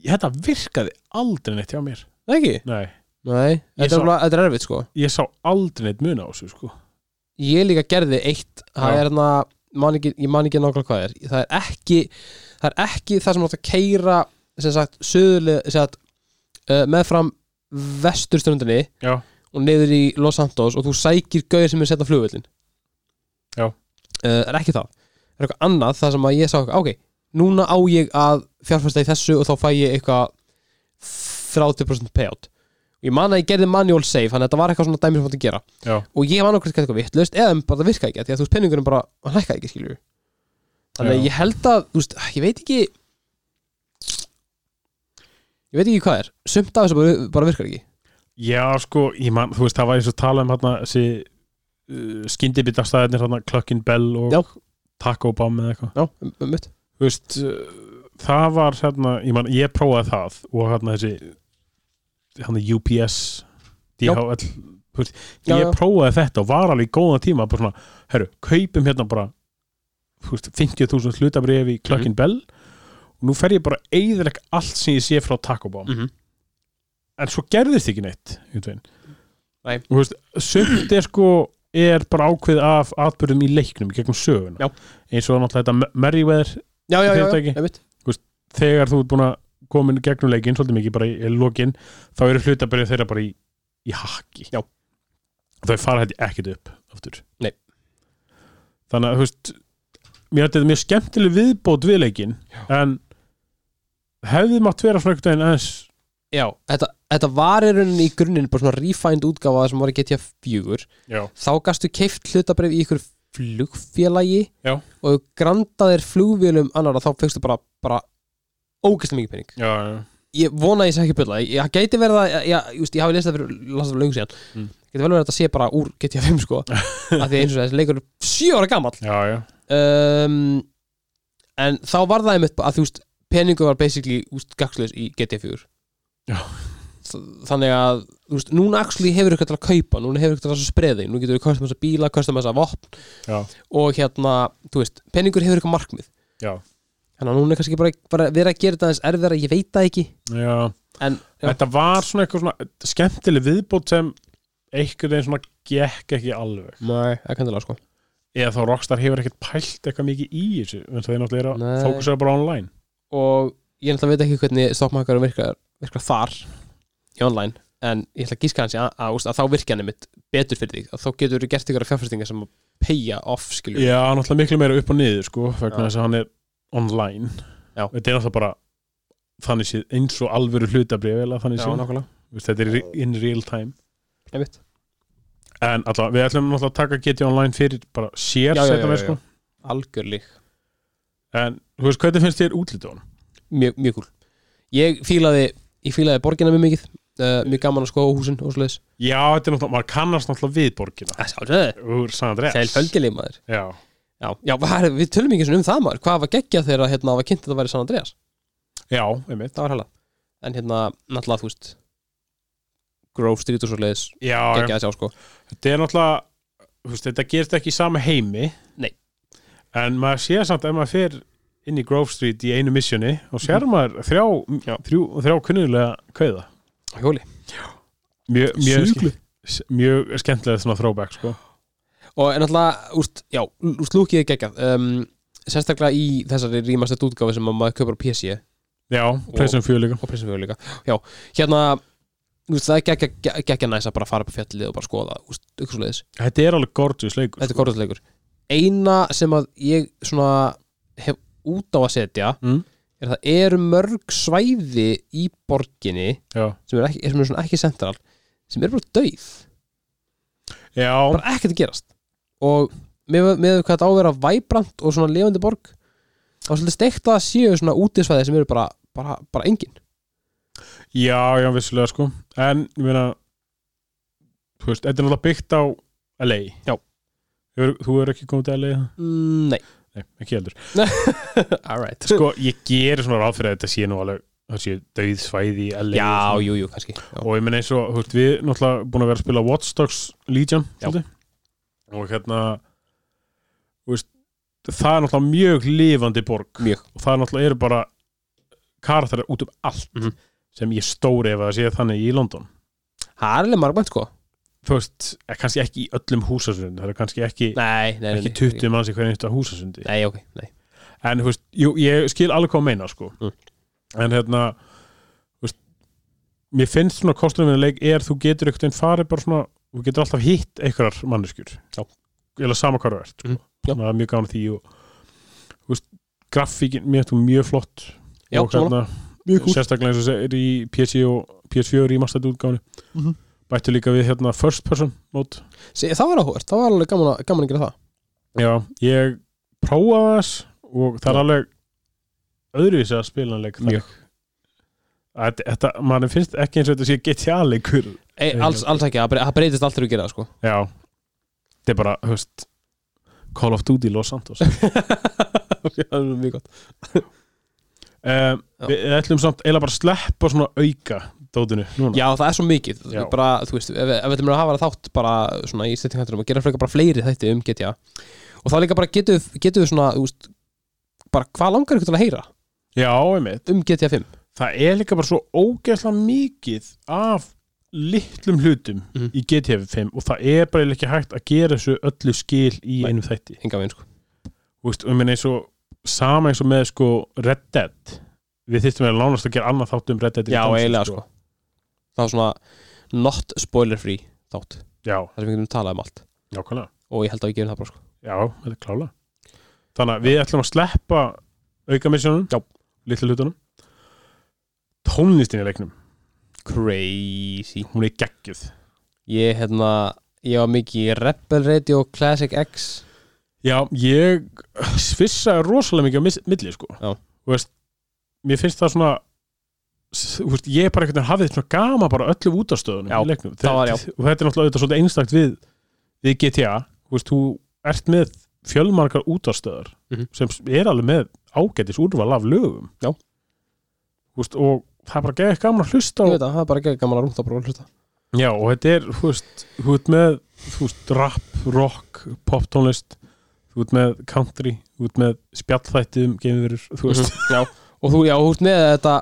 [SPEAKER 2] þetta virkaði aldrei neitt hjá mér
[SPEAKER 1] Nei, ekki?
[SPEAKER 2] nei,
[SPEAKER 1] Nei,
[SPEAKER 2] Ég
[SPEAKER 1] þetta,
[SPEAKER 2] sá-
[SPEAKER 1] er, bara- þetta er erfitt sko
[SPEAKER 2] ég sá aldrei neitt mun á þessu sko
[SPEAKER 1] ég líka gerði eitt það
[SPEAKER 2] Já.
[SPEAKER 1] er hérna, man ekki, ég man ekki nákvæmlega hvað er það er ekki það er ekki það sem átt að keira sem sagt, söðuleg, sem sagt uh, meðfram vesturströndinni
[SPEAKER 2] Já.
[SPEAKER 1] og niður í Los Santos og þú sækir gauðir sem er setna flugvöllin
[SPEAKER 2] Já.
[SPEAKER 1] það Eh, er ekki það það er eitthvað annað það sem að ég sá eitthvað ok, núna á ég að fjárfæsta í þessu og þá fæ ég eitthvað 30% payout ég man að ég gerði manual save þannig að þetta var eitthvað svona dæmi sem átti að gera
[SPEAKER 2] Já.
[SPEAKER 1] og ég var nákvæmst eitthvað vittlust eða bara það virkaði ekki af því að þú veist penningunum bara hann hækkaði ekki skilur þannig
[SPEAKER 2] Já.
[SPEAKER 1] að ég held að þú veist, ég veit ekki ég veit ekki hvað er sumt af þessu bara, bara virkar ekki
[SPEAKER 2] já sko, ég man, þú veist það var eins og talað um hérna þessi uh, skyndibitastæðinir hérna Cluckin Bell og
[SPEAKER 1] Já.
[SPEAKER 2] Taco Bomb eða eitthvað
[SPEAKER 1] já, um, um, mitt
[SPEAKER 2] þú veist uh, það var hérna, ég, man, ég prófaði það og hérna þessi hérna UPS
[SPEAKER 1] Já.
[SPEAKER 2] DHL þú veist,
[SPEAKER 1] Já,
[SPEAKER 2] ég
[SPEAKER 1] já.
[SPEAKER 2] prófaði þetta og var alveg í góðan tíma bara svona, herru, kaupum hérna bara þú veist, 50.000 hlutabrif
[SPEAKER 1] Mhm.
[SPEAKER 2] í Klökkin Bell og nú fer ég bara eiðileg allt sem ég sé frá Taco Bomb
[SPEAKER 1] mm -hmm.
[SPEAKER 2] en svo gerðist ekki neitt einhvern
[SPEAKER 1] Nei.
[SPEAKER 2] veginn. og þú veist, sumt er sko er bara ákveð af atbyrðum í leiknum í gegnum söguna
[SPEAKER 1] Já.
[SPEAKER 2] eins og náttúrulega þetta Merriweather
[SPEAKER 1] já, já, já, já,
[SPEAKER 2] Fyrirtæki.
[SPEAKER 1] um, mitt
[SPEAKER 2] þegar þú ert búin að koma inn í gegnum leikinn svolítið mikið bara í, í lokin þá eru hlutabrið þeirra bara í, í haki
[SPEAKER 1] Já.
[SPEAKER 2] þau fara hætti ekkert upp aftur
[SPEAKER 1] Nei.
[SPEAKER 2] þannig að þú veist mér hætti þetta mjög skemmtileg viðbót við leikinn en hefði mátt vera svona einhvern veginn aðeins
[SPEAKER 1] já, þetta, þetta var í rauninni í grunninn bara svona refined útgáfa af það sem var í GTA 4
[SPEAKER 2] já,
[SPEAKER 1] þá gastu keift hlutabrif í ykkur flugfélagi
[SPEAKER 2] Já.
[SPEAKER 1] og ef þú grandaðir flugvélum annara þá fegstu bara, bara ógæslega mikið pening
[SPEAKER 2] já, já,
[SPEAKER 1] ég vona að ég sé ekki byrla ég, ég gæti verið að, ég, ég, just, ég hafi lesið það fyrir lasað fyrir löngu síðan
[SPEAKER 2] Mm.
[SPEAKER 1] gæti vel verið að þetta sé bara úr GTA 5 sko af því að eins og þessi leikur er sjö ára gamall
[SPEAKER 2] já, já.
[SPEAKER 1] um, en þá var það einmitt að þú veist peningu var basically úst gagslis í GTA 4
[SPEAKER 2] Já.
[SPEAKER 1] Þ- þannig að þú veist, núna actually hefur ykkur til að kaupa núna hefur ykkur til að spreði, nú getur við kostum þessa bíla kostum þessa vopn
[SPEAKER 2] Já.
[SPEAKER 1] og hérna, þú veist, peningur hefur ykkur markmið
[SPEAKER 2] Já.
[SPEAKER 1] þannig að núna er kannski bara, bara verið að gera þetta aðeins erfiðara, ég veit það ekki
[SPEAKER 2] já.
[SPEAKER 1] en, já,
[SPEAKER 2] þetta var svona eitthvað svona skemmtileg viðbót sem einhvern veginn svona gekk ekki alveg
[SPEAKER 1] nei, ekki endilega sko
[SPEAKER 2] eða þá Rockstar hefur ekkert pælt eitthvað mikið í þessu en það er náttúrulega er
[SPEAKER 1] Nei.
[SPEAKER 2] að fókusera bara online
[SPEAKER 1] og ég náttúrulega veit ekki hvernig stokkmarkaður virkar, virkar þar í online en ég ætla að gíska hans að, að, úst, að þá virkja hann einmitt betur fyrir þig að þá getur þú gert ykkur fjárfæstingar sem að paya off skilur
[SPEAKER 2] já, náttúrulega miklu meira upp og niður sko, vegna
[SPEAKER 1] Já.
[SPEAKER 2] þess að hann er online
[SPEAKER 1] Já.
[SPEAKER 2] þetta er alltaf bara þannig séð eins og alvöru hlutabrif þannig séð,
[SPEAKER 1] nákvæmlega
[SPEAKER 2] Þú veist, þetta er re- in real time
[SPEAKER 1] Einmitt.
[SPEAKER 2] en alltaf, við ætlum alltaf að taka GT Online fyrir bara sér
[SPEAKER 1] Já, já, já,
[SPEAKER 2] setna
[SPEAKER 1] já,
[SPEAKER 2] verð sko
[SPEAKER 1] Algjörlík
[SPEAKER 2] en þú veist, hvernig finnst þér útlítið á hann?
[SPEAKER 1] mjög, mjög kúl ég fílaði, ég fílaði borgina mjög mikið uh, mjög gaman að skoða húsin og svoleiðis
[SPEAKER 2] Já, þetta er náttúrulega, maður kannast náttúrulega við borgina
[SPEAKER 1] sjálfsögðu,
[SPEAKER 2] úr San Andreas
[SPEAKER 1] sæl fölgileg maður
[SPEAKER 2] Já,
[SPEAKER 1] já, já var, við tölum ekki svona um það maður hvað var geggja þegar hérna, var kynnt að það væri San Andreas
[SPEAKER 2] já, einmitt
[SPEAKER 1] það var hella en hérna, náttúrulega þú veist Grove Street og svoleiðis
[SPEAKER 2] Já, já.
[SPEAKER 1] geggja að sjá sko
[SPEAKER 2] þetta er náttúrulega þú veist, þetta gerist ekki í sama heimi
[SPEAKER 1] Nei.
[SPEAKER 2] en maður sé samt ef maður fer inn í Grove Street í einu missjóni og sér maður þrjá,
[SPEAKER 1] Mhm. Já.
[SPEAKER 2] þrjú, þrjá kunnulega kauða
[SPEAKER 1] Á hjóli
[SPEAKER 2] mjög, mjög,
[SPEAKER 1] Sjúklu.
[SPEAKER 2] ske- mjög skemmtilega svona throwback sko.
[SPEAKER 1] og en náttúrulega, úst, já, úst lúkið er geggjað um, sérstaklega í þessari rýmastett útgáfi sem að maður köpur á PC
[SPEAKER 2] já, Playsum 4 líka
[SPEAKER 1] og prinsum við líka já, hérna, þú veist, það er geggja, geggja- geggja næs að bara fara upp á fjallið og bara skoða, þú veist, ykkur svoleiðis
[SPEAKER 2] þetta er alveg gorgeous leikur
[SPEAKER 1] þetta er korðleikur eina sem að ég svona hef út á að setja
[SPEAKER 2] Mm.
[SPEAKER 1] er að það eru mörg svæði í borginni
[SPEAKER 2] já,
[SPEAKER 1] sem er ekki, sem er svona ekki central sem er bara döið,
[SPEAKER 2] já,
[SPEAKER 1] bara ekkert að gerast og með, með hvað þetta á að vera væbrant og svona levandi borg þá er svolítið steikt að séu svona útisvæði sem eru bara, bara, bara engin
[SPEAKER 2] já, já, vissulega sko en, ég meina þú veist, þetta er náttúrulega byggt á LA
[SPEAKER 1] Já.
[SPEAKER 2] Hefur- þú er ekki komið til LA
[SPEAKER 1] mm, nei,
[SPEAKER 2] Nei, ekki heldur
[SPEAKER 1] alright
[SPEAKER 2] sko, ég gerir svona ráð fyrir að þetta sé nú alveg það sé döið svæði í LA
[SPEAKER 1] já,
[SPEAKER 2] og,
[SPEAKER 1] jú, jú, kannski já.
[SPEAKER 2] og ég menn eins og, þú veist, við náttúrulega búin að vera að spila Watch Dogs Legion
[SPEAKER 1] Já.
[SPEAKER 2] svolítið. og hérna þú veist, það er náttúrulega mjög lifandi borg
[SPEAKER 1] Mjög.
[SPEAKER 2] og það er náttúrulega eru bara karakterar út um allt
[SPEAKER 1] Mhm.
[SPEAKER 2] sem ég stóri ef að sé þannig í London
[SPEAKER 1] það er alveg margmænt sko
[SPEAKER 2] þú veist, eh, kannski ekki í öllum húsasundum það er kannski ekki,
[SPEAKER 1] nei, nei, nei,
[SPEAKER 2] ekki
[SPEAKER 1] nei.
[SPEAKER 2] 20 manns í hverju einsta húsasundi
[SPEAKER 1] nei, ok, nei
[SPEAKER 2] en þú veist, jú, ég skil alveg hvað að meina sko.
[SPEAKER 1] Mm.
[SPEAKER 2] en hérna þú veist, mér finnst svona kostunum við leik er þú getur einhvern veginn farið bara svona, þú getur alltaf hitt einhverjar manneskjur
[SPEAKER 1] Já.
[SPEAKER 2] eða sama hvað þú ert sko.
[SPEAKER 1] Mhm. Já.
[SPEAKER 2] það er mjög gáðan því og þú veist, grafíkin, mér finnst hún mjög flott
[SPEAKER 1] Já,
[SPEAKER 2] og hérna,
[SPEAKER 1] Mjög kúl.
[SPEAKER 2] sérstaklega eins og segir í PS4 og PS4 í mastaði útgáðinu
[SPEAKER 1] Mhm.
[SPEAKER 2] bættu líka við hérna first person mót
[SPEAKER 1] Sí, það var áhugavert, það var alveg gaman að, gaman að gera það
[SPEAKER 2] Já, ég prófaði þess og það er alveg öðruvísi að spila hann leik
[SPEAKER 1] Mjög.
[SPEAKER 2] Þetta, þetta mann finnst ekki eins og þetta sé GTA leikur
[SPEAKER 1] Ei,
[SPEAKER 2] Nei,
[SPEAKER 1] alls,
[SPEAKER 2] já.
[SPEAKER 1] alls ekki, það bre- það breytist allt þegar við gera það sko
[SPEAKER 2] Já Þetta er bara, höfst Call of Duty Los Santos um,
[SPEAKER 1] Ok, það er mjög gott
[SPEAKER 2] Við Eh, við ætlum samt eiginlega bara að sleppa svona auka dótinu núna
[SPEAKER 1] Já, það er svo mikið,
[SPEAKER 2] Já.
[SPEAKER 1] bara, þú veist, ef, ef við erum að hafa þátt bara svona í settinghættunum og gera frekar bara fleiri þætti um GTA og það líka bara getum við- getum við svona, þú veist bara hvað langar ykkur til að heyra
[SPEAKER 2] Já, einmitt
[SPEAKER 1] um GTA 5
[SPEAKER 2] Það er líka bara svo ógeðslega mikið af litlum hlutum
[SPEAKER 1] Mhm.
[SPEAKER 2] í GTA 5 og það er bara eiginlega ekki hægt að gera þessu öllu skil í
[SPEAKER 1] Nei.
[SPEAKER 2] einum þætti
[SPEAKER 1] hinga við, sko
[SPEAKER 2] Þú veist, og ég meina eins og sama eins og með sko Red Dead við þyrftum að lánast að gera annað þátt um Red Dead
[SPEAKER 1] Já,
[SPEAKER 2] Redemption,
[SPEAKER 1] eiginlega, sko Það var svona not spoiler free þátt,
[SPEAKER 2] já,
[SPEAKER 1] þar sem við getum talað um allt
[SPEAKER 2] nákvæmlega,
[SPEAKER 1] og ég held að við gerum það bara, sko
[SPEAKER 2] já, þetta er klála þannig að við ætlum að sleppa aukamissjónum, já, litlu hlutunum tónlistin í leiknum
[SPEAKER 1] Crazy
[SPEAKER 2] hún er geggjuð
[SPEAKER 1] Ég, hérna, ég var mikið í Rebel Radio Classic X
[SPEAKER 2] já, ég svissa rosalega mikið á mis- milli sko
[SPEAKER 1] Já.
[SPEAKER 2] Þú veist, mér finnst það svona s- þú veist, ég bara einhvern veginn hafði svona gama bara öllu útastöðunum
[SPEAKER 1] Já,
[SPEAKER 2] í leiknum
[SPEAKER 1] það var já.
[SPEAKER 2] og þetta er náttúrulega auðvitað svolítið einstakt við við GTA, þú veist, þú ert með fjölmargar útastöðar
[SPEAKER 1] Mhm.
[SPEAKER 2] sem er alveg með ágætis úrval af lögum
[SPEAKER 1] Já.
[SPEAKER 2] Þú veist, og það er bara geðið gaman að hlusta
[SPEAKER 1] Ég
[SPEAKER 2] á
[SPEAKER 1] veit að það er bara ekki gaman að rúnta bara og hlusta
[SPEAKER 2] Já, og þetta er, þú veist, þú ert með, þú veist, rap, rock, poptónlist, þú ert með country, þú ert með spjallþætti um geimverur, þú veist.
[SPEAKER 1] Já, og þú, já, þú ert með þetta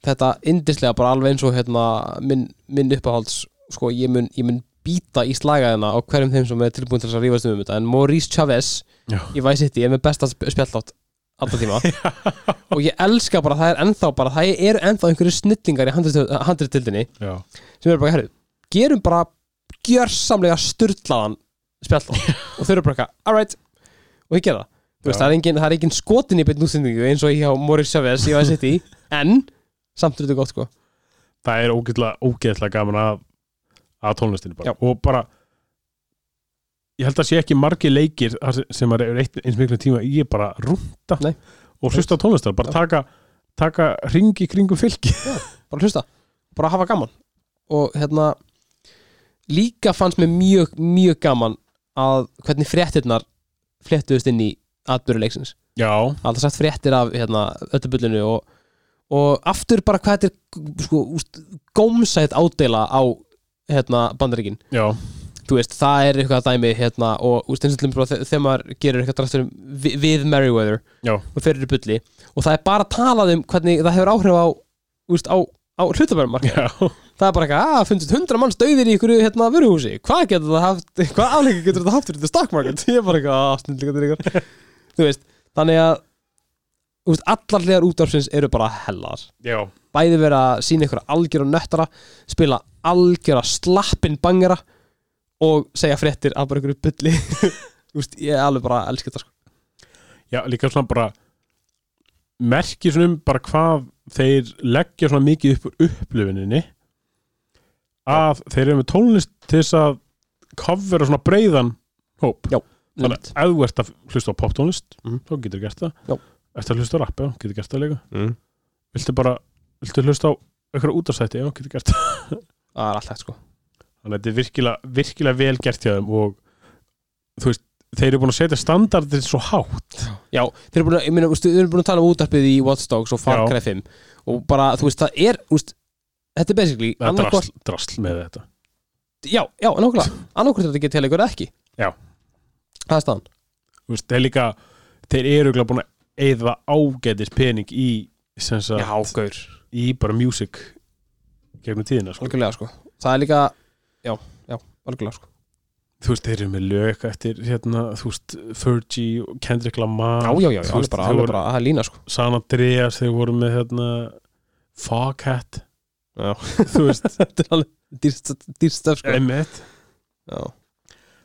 [SPEAKER 1] þetta indislega bara alveg eins og hérna, minn, minn uppahalds sko, ég mun, ég mun býta í slagaðina á hverjum þeim sem er tilbúin til þess að rífast um þetta en Maurice Chavez,
[SPEAKER 2] Já.
[SPEAKER 1] ég væs hitt ég er með besta sp- spjallátt alltaf tíma og ég elska bara, það er ennþá bara það eru ennþá einhverju snillingar í handritildinni
[SPEAKER 2] Já.
[SPEAKER 1] sem eru bara, herru, gerum bara gjörsamlega styrlaðan spjall og þau eru bara eitthvað, alright og ég gera það, Þú veist, það er engin, það er engin skotin í beinn útsendingu eins og hjá Morris Chavez í Vice City en samt er þetta gott sko
[SPEAKER 2] það er ógeðslega, ógeðslega gaman að, að tónlistinu bara
[SPEAKER 1] Já.
[SPEAKER 2] og bara ég held að sé ekki margi leikir þar sem- sem maður er eitt, eins miklu tíma í að bara rúnda
[SPEAKER 1] Nei.
[SPEAKER 2] og hlusta á tónlistar bara
[SPEAKER 1] Já.
[SPEAKER 2] taka, taka ringi kringum fylki
[SPEAKER 1] bara hlusta, bara hafa gaman og hérna líka fannst mér mjög, mjög gaman að hvernig fréttirnar fléttuðust inn í atbyrjuleiksins
[SPEAKER 2] já,
[SPEAKER 1] alltaf sagt fréttir af hérna, öllubullinu og, og aftur bara hvað þetta er sko, úst, gómsætt ádela á hérna, bandaríkin
[SPEAKER 2] já,
[SPEAKER 1] þú veist, það er eitthvað dæmi hérna, og úst, eins og til bara þe- þegar maður gerir eitthvað drastur um við, við Merriweather
[SPEAKER 2] Já.
[SPEAKER 1] og fyrir í bulli og það er bara talað um hvernig það hefur áhrif á, úst, á, á hlutabærumarka
[SPEAKER 2] já
[SPEAKER 1] það er bara eitthvað, að fundist hundra manns döðir í ykkur hérna vöruhúsi, hvað getur það haft hvað afleika getur það haft fyrir þetta stock market ég er bara eitthvað, "Ah, að snillika til ykkur þú veist, þannig að úst, allar hliðar útdarfsins eru bara hellar
[SPEAKER 2] já,
[SPEAKER 1] bæði verið að sína ykkur algjör og nöttara spila algjör að slappin bangera og segja fréttir af bara ykkur bulli Úst, ég er alveg bara að elska þetta sko.
[SPEAKER 2] já, líka svona bara merki svona um bara hvað þeir leggja svona mikið upp úr upplifuninni að þeir eru með tónlist til þess að covera svona breiðan hóp Þannig
[SPEAKER 1] Einmitt.
[SPEAKER 2] að ef þú ert að hlusta á poptónlist
[SPEAKER 1] Mhm.
[SPEAKER 2] þá getur þú gert það
[SPEAKER 1] Já.
[SPEAKER 2] Eftir að hlusta á rap, já, getur þú gert það líka
[SPEAKER 1] Mhm.
[SPEAKER 2] Viltu bara, viltu hlusta á einhverja útastætti, já, getur þú gert það
[SPEAKER 1] það er alltaf sko.
[SPEAKER 2] Þannig að þetta er virkilega, virkilega vel gert hjá þeim og þú veist, þeir eru búin að setja standardin svo hátt
[SPEAKER 1] já, þeir eru búin að, ég meina, úst, þeir eru búin að tala um útarpið í Watch Dogs og Far
[SPEAKER 2] Já.
[SPEAKER 1] Cry 5 og bara, þú veist, það er úst, þetta er basically
[SPEAKER 2] Það er
[SPEAKER 1] annaðhvort-
[SPEAKER 2] drasl, drasl með þetta
[SPEAKER 1] já, já, nákvæmlega, annarkvort þetta getur til ykkur eða ekki
[SPEAKER 2] Já.
[SPEAKER 1] það er staðan
[SPEAKER 2] Þú veist, þeir líka, þeir eru örugglega búin að eyða ágætis pening í sem sagt,
[SPEAKER 1] gaur,
[SPEAKER 2] í bara music gegnum tíðina, sko
[SPEAKER 1] algjörlega sko það er líka, já, já, algjörlega sko
[SPEAKER 2] þú veist, þeir eru með lög eitthvað eftir hérna, þú veist, Fergie og Kendrick Lamar
[SPEAKER 1] já, já, já, já,
[SPEAKER 2] þú
[SPEAKER 1] alveg
[SPEAKER 2] veist,
[SPEAKER 1] bara,
[SPEAKER 2] þeir
[SPEAKER 1] alveg
[SPEAKER 2] voru
[SPEAKER 1] bara, það er lína sko
[SPEAKER 2] San Andreas, þeir voru með hérna, Foghat
[SPEAKER 1] Já.
[SPEAKER 2] þú veist,
[SPEAKER 1] þetta er alveg dýrst- dýrst af sko
[SPEAKER 2] emitt
[SPEAKER 1] já,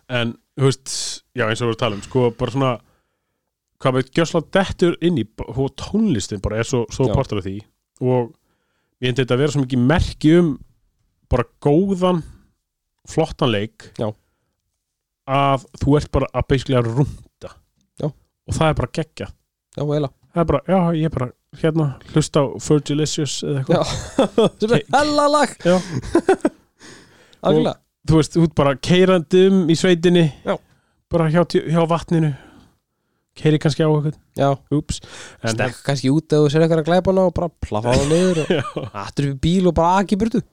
[SPEAKER 2] en, þú veist, já, eins og við vorum að tala um sko, bara svona hvað veit, gjössla dettur inn í og tónlistin bara er svo, svo
[SPEAKER 1] Já.
[SPEAKER 2] partur af því og ég endi þetta að vera svo mikið merki um bara góðan flottan leik
[SPEAKER 1] Já.
[SPEAKER 2] að þú ert bara að basically að runda
[SPEAKER 1] Já.
[SPEAKER 2] og það er bara geggja
[SPEAKER 1] já, eiginlega
[SPEAKER 2] það er bara, já, ég er bara hérna, hlusta á Fergalicious eða eitthvað,
[SPEAKER 1] sem er
[SPEAKER 2] Ke-
[SPEAKER 1] hella lag
[SPEAKER 2] Já.
[SPEAKER 1] algjörlega,
[SPEAKER 2] þú veist, út bara keirandi um í sveitinni
[SPEAKER 1] Já.
[SPEAKER 2] bara hjá, tj- hjá vatninu keiri kannski á eitthvað,
[SPEAKER 1] já,
[SPEAKER 2] ups en,
[SPEAKER 1] stekk kannski út ef þú sér eitthvað að glæpa hana og bara plafa hana niður og
[SPEAKER 2] já,
[SPEAKER 1] aftur upp í bíl og bara aki í burtu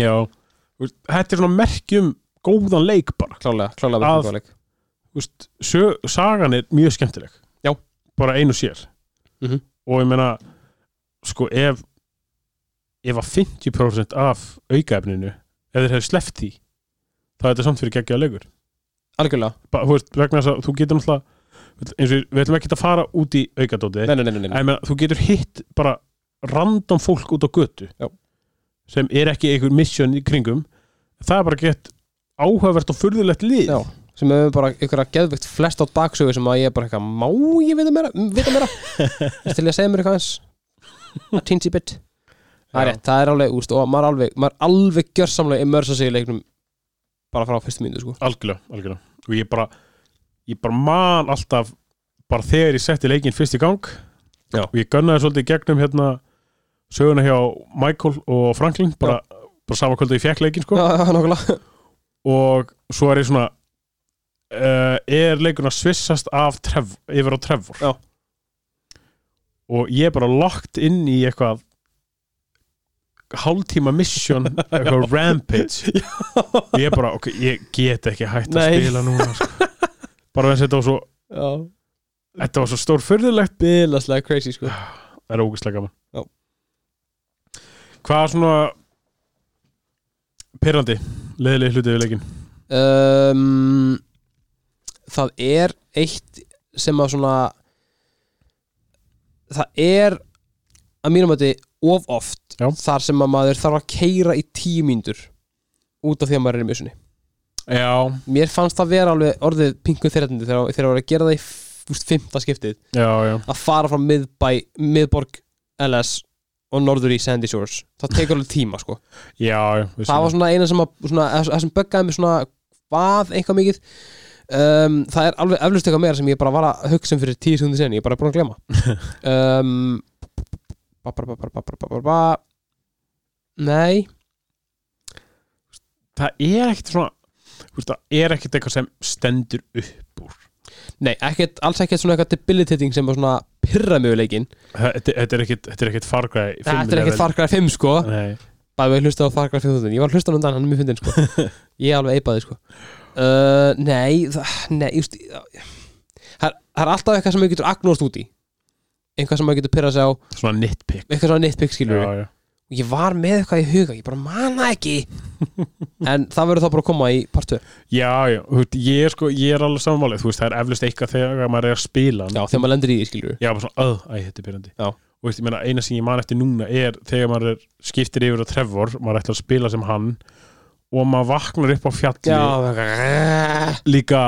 [SPEAKER 2] já Þú veist, þetta er svona merkjum góðan leik bara,
[SPEAKER 1] klálega, klálega
[SPEAKER 2] Að-
[SPEAKER 1] verður góðleik
[SPEAKER 2] þú veist, sjö, sagan er mjög skemmtileg
[SPEAKER 1] Já.
[SPEAKER 2] bara einu sér
[SPEAKER 1] Mhm.
[SPEAKER 2] og ég meina, sko, ef ef að 50% af aukaefninu, ef þeir hefur sleppt því þá er þetta samt fyrir geggjaða leikur
[SPEAKER 1] algjörlega,
[SPEAKER 2] bara, þú veist, vegna þess að þú getur náttúrulega eins og við ætlum ekki að fara út í aukadóti
[SPEAKER 1] nei, nei, nei, nei, nei.
[SPEAKER 2] en meina, þú getur hitt bara random fólk út á götu
[SPEAKER 1] Já.
[SPEAKER 2] sem er ekki einhver mission í kringum það er bara gett áhugavert og furðulegt lið
[SPEAKER 1] Já. sem hefur bara ykkur að geðveikt flest á dagsögu sem að ég er bara eitthvað, má ég vita meira vita meira, Ertu til ég að segja mér eitthvað eins a teensy bit það er
[SPEAKER 2] Já.
[SPEAKER 1] rétt, það er alveg, úst, og maður alveg maður alveg gjörsamlega immersa sig í leiknum bara frá fyrstu mínu, sko
[SPEAKER 2] algjörlega, algjörlega og ég bara, ég bara man alltaf bara þegar ég setti leikinn fyrst í gang
[SPEAKER 1] Já.
[SPEAKER 2] og ég gönnaði svolítið í gegnum hérna söguna hjá Michael og Franklin bara, bara sama kvöldu ég fekk leikinn sko
[SPEAKER 1] já, já, nákvæmlega,
[SPEAKER 2] og svo er ég svona uh, er leikurinn að svissast af trev, yfir á Trevor
[SPEAKER 1] Já.
[SPEAKER 2] og ég er bara lagt inn í eitthvað hálftíma mission eitthvað rampage og ég er bara, ok, ég get ekki hægt að
[SPEAKER 1] Nei.
[SPEAKER 2] spila núna sko. bara þess að þetta var svo
[SPEAKER 1] já
[SPEAKER 2] þetta var svo stór fyrðilegt
[SPEAKER 1] bilaslega crazy, sko
[SPEAKER 2] það er ógæslega gaman
[SPEAKER 1] Já.
[SPEAKER 2] hvað er svona pyrrandi leðilegi hlutið við leikinn
[SPEAKER 1] um, Það er eitt sem að svona Það er að mínum að þetta of oft
[SPEAKER 2] Já.
[SPEAKER 1] þar sem að maður þarf að keira í tíu mínútur út af því að maður er í mjössunni
[SPEAKER 2] já,
[SPEAKER 1] Mér fannst það vera alveg orðið pingu þeirrandi þegar þegar að vera að gera það í fúst, fymta skiptið
[SPEAKER 2] já, já,
[SPEAKER 1] að fara frá miðbæ, miðborg LS og norður í Sandy Shores það tekur alveg tíma sko
[SPEAKER 2] já, já
[SPEAKER 1] það
[SPEAKER 2] við
[SPEAKER 1] var
[SPEAKER 2] sjáum.
[SPEAKER 1] svona eina sem, að, svona, það- það sem böggaði mig svona hvað eitthvað mikið um, það er alveg eflust eitthvað meira sem ég bara var að hugsa um fyrir tíu sekundi sen ég er bara búin að glema um, ba, ba, ba, ba, ba, ba, ba, ba, ba. nei
[SPEAKER 2] það er ekkert svona þú veist, það er ekkert eitthvað sem stendur upp úr
[SPEAKER 1] nei, ekkert, alls ekkert svona eitthvað debilitating sem var svona pyrra mjöguleikin
[SPEAKER 2] þetta þetta er ekkert þetta er ekkert fargræði
[SPEAKER 1] þetta er ekkert fargræði 5 sko
[SPEAKER 2] Nei,
[SPEAKER 1] bæði við hlusta á Far Cry 5000 ég var að hlusta um þann, hann er mjög fyndin sko. ég er alveg eipaði sko. uh, nei, það, nei just, það, er- það er alltaf eitthvað sem maður getur agnóst út í eitthvað sem maður getur pyrra sig á
[SPEAKER 2] svona nitpick
[SPEAKER 1] eitthvað svona nitpick
[SPEAKER 2] já,
[SPEAKER 1] skilur við
[SPEAKER 2] já.
[SPEAKER 1] ég var með eitthvað í huga, ég bara manna ekki en það verður þá bara að koma í part 2
[SPEAKER 2] já, já, þú veist, ég er sko ég er alveg samanvalið, þú veist, það er eflust eitthvað þegar maður er að spila hann.
[SPEAKER 1] já, þegar maður lendir í því skilur
[SPEAKER 2] Já, bara svona, öð, æ, þetta er byrjandi
[SPEAKER 1] Já.
[SPEAKER 2] Og veist, ég meina, eina sem ég man eftir núna er þegar maður er, skiptir yfir á Trevor maður ætlar að spila sem hann og maður vaknar upp á fjalli
[SPEAKER 1] já,
[SPEAKER 2] líka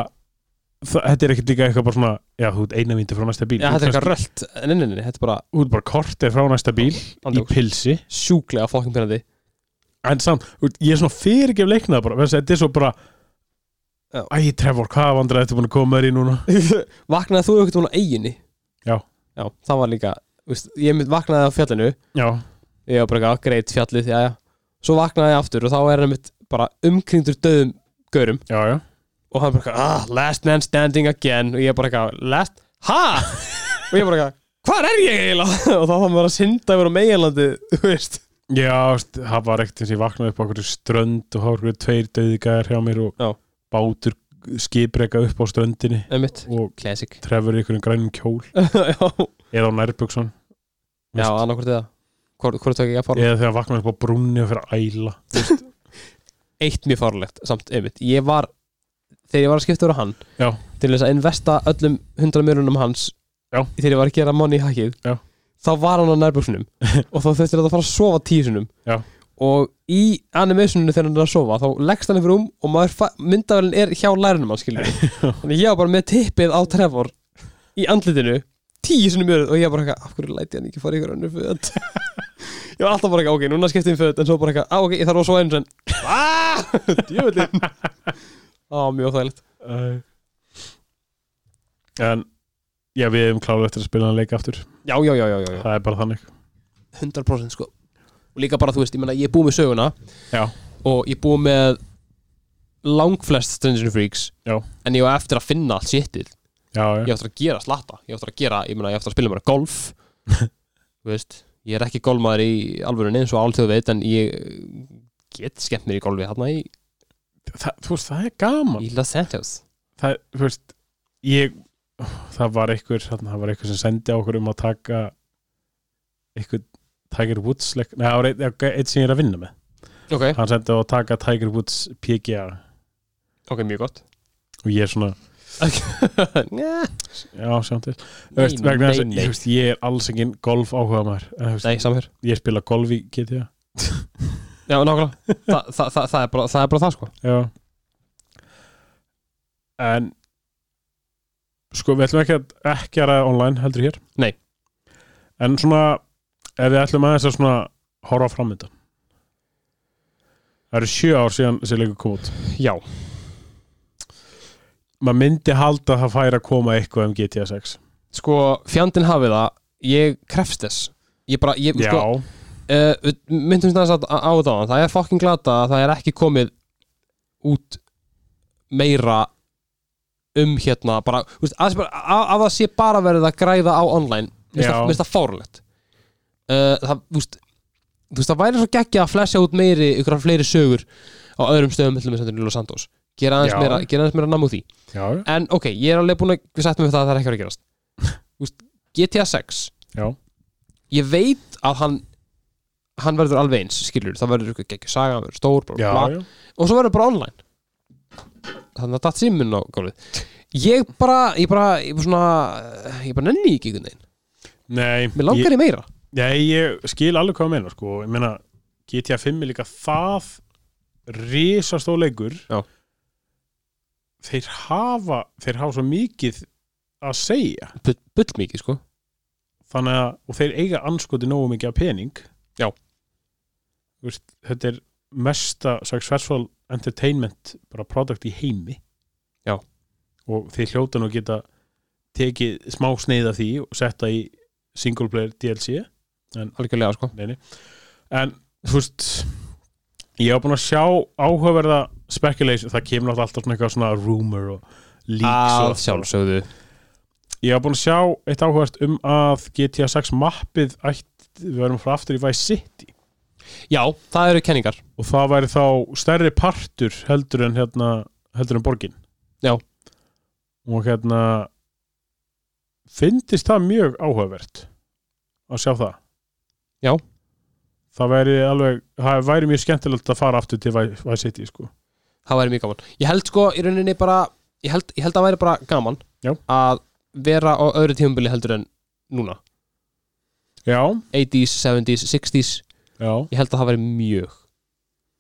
[SPEAKER 2] það, þetta er ekkert líka eitthvað bara svona já, þú ert eina vindu frá næsta bíl
[SPEAKER 1] já þetta
[SPEAKER 2] Þú
[SPEAKER 1] er
[SPEAKER 2] ert
[SPEAKER 1] eitthvað
[SPEAKER 2] kannski-
[SPEAKER 1] rölt nei, nei, nei, nei, þetta er bara
[SPEAKER 2] þú ert bara kortið frá næsta bíl í
[SPEAKER 1] andjóks.
[SPEAKER 2] pilsi
[SPEAKER 1] sjúklega fokkin pyrrandi
[SPEAKER 2] en samt, þú veist, ég er svona fyrirgef leiknað bara, vegna þess að þetta er svo bara
[SPEAKER 1] Já.
[SPEAKER 2] Æ, Trevor, hvað vandrar þetta búin að koma þér í núna?
[SPEAKER 1] vaknaði þú eitthvað á eiginni
[SPEAKER 2] Já.
[SPEAKER 1] já, það var líka veist, ég mynd vaknaði á fjallinu
[SPEAKER 2] Já,
[SPEAKER 1] ég var bara eitthvað greit fjallið já, já. svo vaknaði ég aftur og þá er hann mitt bara umkringdur döðum gaurum
[SPEAKER 2] já, já
[SPEAKER 1] og hann bara eitthvað, ah, last man standing again og ég bara eitthvað, last, ha og ég bara eitthvað, hvar er ég eiginlega og þá var maður að synda yfir á meginlandi þú veist
[SPEAKER 2] Já, þú veist, það var ekkert eins og ég vaknaði upp á okkur strönd og það var okkur tveir döðigar hjá mér og
[SPEAKER 1] Já.
[SPEAKER 2] bátur skipreika upp á ströndinni
[SPEAKER 1] einmitt,
[SPEAKER 2] og
[SPEAKER 1] classic
[SPEAKER 2] trefur ykkur um grænum kjól
[SPEAKER 1] já,
[SPEAKER 2] eða á nærbuksun
[SPEAKER 1] já annarkvort eða hvort hvort tók ég að fara
[SPEAKER 2] eða þegar vaknaði upp á brúnni og fyrir að æla
[SPEAKER 1] eitt mjög farlegt, samt einmitt ég var, þegar ég var að skipta yfir á hann
[SPEAKER 2] Já.
[SPEAKER 1] til þess að investa öllum hundra mjörunum hans
[SPEAKER 2] Já.
[SPEAKER 1] þegar ég var að gera money hackið
[SPEAKER 2] Já.
[SPEAKER 1] þá var hann á nærbuksunum og þá þurfti hann að fara að sofa tíu sinum
[SPEAKER 2] Já.
[SPEAKER 1] og í animationinu þegar hann er að sofa þá leggst hann yfir um og maður fa- myndavelin er hjá lærunum hans skilur þannig ég var bara með tippið á Trevor í andlitinu tíu sinum mjörun og ég var bara eitthvað, af hverju læti hann ekki fara í ykkur önnur föt ég var alltaf bara eitthvað, ok, núna skipti ég um föt en svo bara eitthvað, á ok, ég þarf að sofa einu Ah! sen
[SPEAKER 2] Djöfullin
[SPEAKER 1] á, mjög þægilegt
[SPEAKER 2] En já, við hefum kláður eftir að spila hann leik aftur
[SPEAKER 1] já, já, já, já, já, já.
[SPEAKER 2] það er bara þannig
[SPEAKER 1] 100% sko og líka bara þú veist, ég meina ég er búið með söguna
[SPEAKER 2] Já.
[SPEAKER 1] og ég er búið með langflest Stranger Freaks
[SPEAKER 2] Já.
[SPEAKER 1] en ég var eftir að finna allt sittið
[SPEAKER 2] Já,
[SPEAKER 1] ég á
[SPEAKER 2] já,
[SPEAKER 1] eftir að gera slatta, ég á eftir að gera ég meina ég á eftir að spila mér golf þú veist, ég er ekki golfmaður í alvörunni eins og alþjóð veit en ég get skemmt mér í golfi hérna í,
[SPEAKER 2] það, þú veist, það er gaman
[SPEAKER 1] í Los Santos
[SPEAKER 2] það, þú veist, ég það var einhver, þarna, það var einhver sem sendi á okkur um að taka einhver Tiger Woods leik, nei, það var einn ein sem ég er að vinna með
[SPEAKER 1] ok,
[SPEAKER 2] hann sendi á að taka Tiger Woods PGA
[SPEAKER 1] ok, mjög gott
[SPEAKER 2] og ég er svona,
[SPEAKER 1] Njá,
[SPEAKER 2] já, sjáum til Þú veist, vegna þess að ég, veist, ég er alls engin golf áhuga maður
[SPEAKER 1] nei, samhör
[SPEAKER 2] ég spila golf í GTA
[SPEAKER 1] já, nákvæmlega, Þa, það, það, það, er bara, það er bara það sko
[SPEAKER 2] já en sko við ætlum ekki að ekki að ræða online heldur hér
[SPEAKER 1] Nei.
[SPEAKER 2] en svona ef við ætlum aðeins að svona horfa framöndan það eru sjö ár síðan sem leikur kom út
[SPEAKER 1] já,
[SPEAKER 2] maður myndi halda að það færi að koma eitthvað um GTA 6
[SPEAKER 1] sko, fjandinn hafið það ég krefst þess ég bara, ég,
[SPEAKER 2] já,
[SPEAKER 1] sko, uh, við myndum þess að á þetta áðan. það er fokkin glata að það er ekki komið út meira um hérna bara, þú veist, að, það sé bara- að, að það sé bara verið að græða á online Mér
[SPEAKER 2] Já.
[SPEAKER 1] finnst það fárlegt uh, það, þú veist þú veist, það væri svo geggja að flesja út meiri ykkur fleiri sögur á öðrum stöðum mellum þessum til hérna Los Santos gera aðeins
[SPEAKER 2] Já.
[SPEAKER 1] meira, gera aðeins meira namn úr því
[SPEAKER 2] já,
[SPEAKER 1] en ok, ég er alveg búin að við sættum við það að það er ekki að vera að gerast Þú veist, GTA 6
[SPEAKER 2] Já.
[SPEAKER 1] ég veit að hann hann verður alveg eins, skilur það verður ekki ekki saga, hann verður stór bla,
[SPEAKER 2] já,
[SPEAKER 1] bla,
[SPEAKER 2] já.
[SPEAKER 1] bla, og svo verður bara online þannig að datt síminn á gólfið ég bara, ég bara, ég bara svona ég bara nenni ekki einhvern veginn
[SPEAKER 2] Nei,
[SPEAKER 1] mér langar ég, meira
[SPEAKER 2] Nei, ég skil alveg hvað að meina sko. ég meina, GTA 5 er líka það risastó leikur
[SPEAKER 1] Já.
[SPEAKER 2] þeir hafa þeir hafa svo mikið að segja
[SPEAKER 1] bull, bull mikið sko
[SPEAKER 2] þannig að, og þeir eiga anskoti nógu mikið af pening
[SPEAKER 1] Já.
[SPEAKER 2] Þú veist, þetta er mesta successful entertainment bara product í heimi
[SPEAKER 1] Já.
[SPEAKER 2] og þeir hljóta nú að geta tekið smá sneið af því og setta í single player DLC
[SPEAKER 1] algjörlega sko
[SPEAKER 2] Neini. en þú veist ég hef búin að sjá áhugaverða speculation, það kemur náttúrulega alltaf svona eitthvað svona rumor og leaks
[SPEAKER 1] að
[SPEAKER 2] og
[SPEAKER 1] sjálfsögðu
[SPEAKER 2] Ég haf búin að sjá eitt áhugast um að GTA 6 mappið ætt, við verðum frá aftur í Vice City
[SPEAKER 1] já, það eru kenningar
[SPEAKER 2] og það væri þá stærri partur heldur en hérna, heldur en borgin
[SPEAKER 1] Já.
[SPEAKER 2] og hérna fyndist það mjög áhugavert að sjá það
[SPEAKER 1] Já.
[SPEAKER 2] það væri alveg, það væri mjög skemmtilegt að fara aftur til Vice Vice City sko.
[SPEAKER 1] það væri mjög gaman ég held sko í rauninni bara ég held, ég held að væri bara gaman
[SPEAKER 2] Já.
[SPEAKER 1] að vera á öðru tímabili heldur en núna
[SPEAKER 2] já,
[SPEAKER 1] 80s, 70s, 60s
[SPEAKER 2] já
[SPEAKER 1] ég held að það væri mjög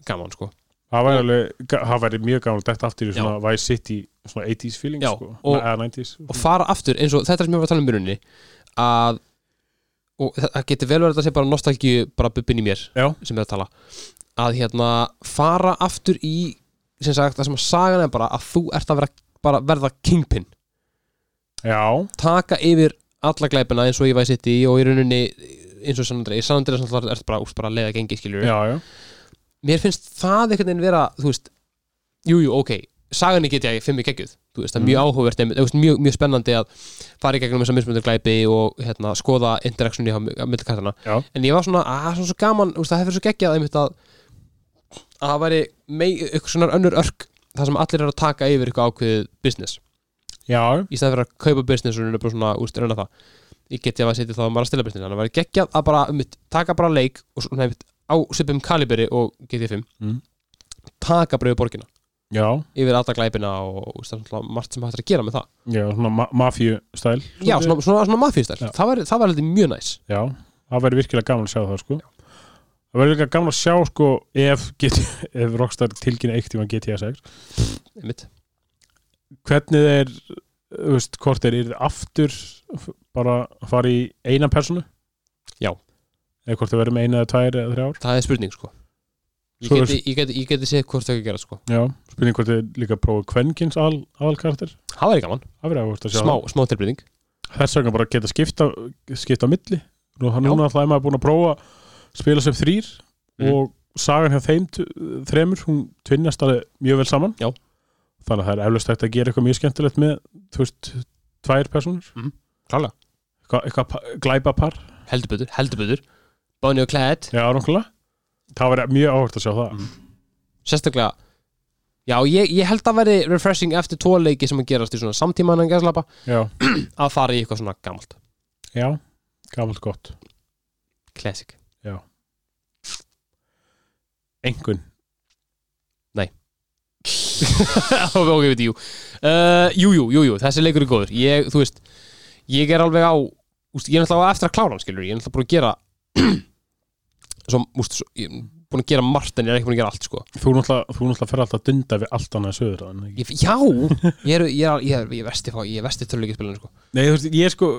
[SPEAKER 1] gaman sko
[SPEAKER 2] það væri, alveg, það væri mjög gaman að detta aftur í
[SPEAKER 1] Já.
[SPEAKER 2] svona Vice City svona 80s feeling
[SPEAKER 1] Já,
[SPEAKER 2] sko,
[SPEAKER 1] og-
[SPEAKER 2] eða 90s
[SPEAKER 1] og fara aftur eins og þetta er sem ég var að tala um byrjunni að og það það getur vel verið að þetta sé bara nostalgíu bara bubbin í mér
[SPEAKER 2] Já.
[SPEAKER 1] sem ég er að tala að hérna fara aftur í sem sagt það sem að sagan er bara að þú ert að vera, bara verða kingpin
[SPEAKER 2] Já,
[SPEAKER 1] taka yfir alla glæpina eins og ég væði sitt í og í rauninni eins og San Andrei San Andrei er bara, ert bara, úst, bara að leiða gengi skiljur
[SPEAKER 2] já, já,
[SPEAKER 1] mér finnst það einhvern veginn vera þú veist, jú, jú, ok sagan get ég fimm í geggjuð, þú veist, það er mjög
[SPEAKER 2] Mhm.
[SPEAKER 1] áhugavert einmitt, þú veist, mjög, mjög spennandi að fara í gegnum þessar mismunandi glæpi og hérna, skoða interaktsjoni á milli kattana
[SPEAKER 2] Já.
[SPEAKER 1] en ég var svona, að svona svo gaman, þú veist, það hefur svo geggjað einmitt að að það væri mei, ykkur svona önnur örk það sem allir er að taka yfir ykkur ákveðið business
[SPEAKER 2] já,
[SPEAKER 1] í stæð fyrir að kaupa business og reyna bara svona, úst, reyna það ég geti að setja þá bara að stila business þannig að það væri geggjað að bara, um, taka bara leik og svona einmitt á svipum kaliberi og GT5
[SPEAKER 2] Mm.
[SPEAKER 1] taka bara yfir borgina,
[SPEAKER 2] já,
[SPEAKER 1] yfir alla glæpina og úst, það er svona margt sem hægt er að gera með það
[SPEAKER 2] já, svona ma mafíu stæl
[SPEAKER 1] já, svona, svona, svona mafíustæl,
[SPEAKER 2] Já.
[SPEAKER 1] það væri, það væri heldur mjög næs
[SPEAKER 2] Já, það verður virkilega gaman að sjá það sko Það verður líka gaman að sjá sko ef, get, ef Rockstar tilkynna eitt tíma GTA 6
[SPEAKER 1] einmitt,
[SPEAKER 2] Hvernig þeir, þú veist, hvort þeir eru aftur f- bara að fara í eina personu
[SPEAKER 1] Já.
[SPEAKER 2] Eða hvort þeir verður með eina eða tvær eða þrjár
[SPEAKER 1] það er spurning sko ég
[SPEAKER 2] Svo er-
[SPEAKER 1] geti, ég geti, ég geti séð hvort þau ekki gera sko
[SPEAKER 2] Já, spurning hvort þeir líka prófa kvenkins al, aðalkartir
[SPEAKER 1] það væri gaman,
[SPEAKER 2] Það verður áhvert að sjá
[SPEAKER 1] smá, smá tilbreyting
[SPEAKER 2] það. Þess vegna bara geta skipta, skipta á milli Nú, Núna alltaf er maður búin að prófa að spila sem þrýr
[SPEAKER 1] Mhm.
[SPEAKER 2] og sagan hjá þeim t- þremur, hún tvinnast alveg mjög vel saman
[SPEAKER 1] Já.
[SPEAKER 2] þannig að það er eflaust hægt að gera eitthvað mjög skemmtilegt með þú veist, tvær personur
[SPEAKER 1] Mm. klálega,
[SPEAKER 2] eitthvað, eitthvað pa- glæpapar,
[SPEAKER 1] heldur betur, heldur betur Bonnie og Clyde,
[SPEAKER 2] já nákvæmlega það var mjög áhört að sjá það
[SPEAKER 1] Mhm. sérstaklega já, ég, ég held að veri refreshing eftir tóleiki sem að gerast í svona samtímaðan gæslapa
[SPEAKER 2] já,
[SPEAKER 1] að fara í eitthvað svona gamalt
[SPEAKER 2] já, gamalt gott
[SPEAKER 1] classic
[SPEAKER 2] engun,
[SPEAKER 1] ok, ok, veit ég, jú. Uh, jú, jú, jú, jú, þessi leikur er góður ég, þú veist, ég er alveg á úst, ég er náttúrulega á eftir að klára hann, skilur ég er náttúrulega búin að gera svo, úst, svo, ég er búin að gera margt en ég er ekki búin að gera allt, sko
[SPEAKER 2] þú náttúrulega, þú náttúrulega fer alltaf að dunda við allt annað söður en ekki
[SPEAKER 1] ég, já, ég er, ég er, ég er, ég er vesti fá- ég er vesti töluleikispilinu, sko
[SPEAKER 2] Nei, þú veist, ég sko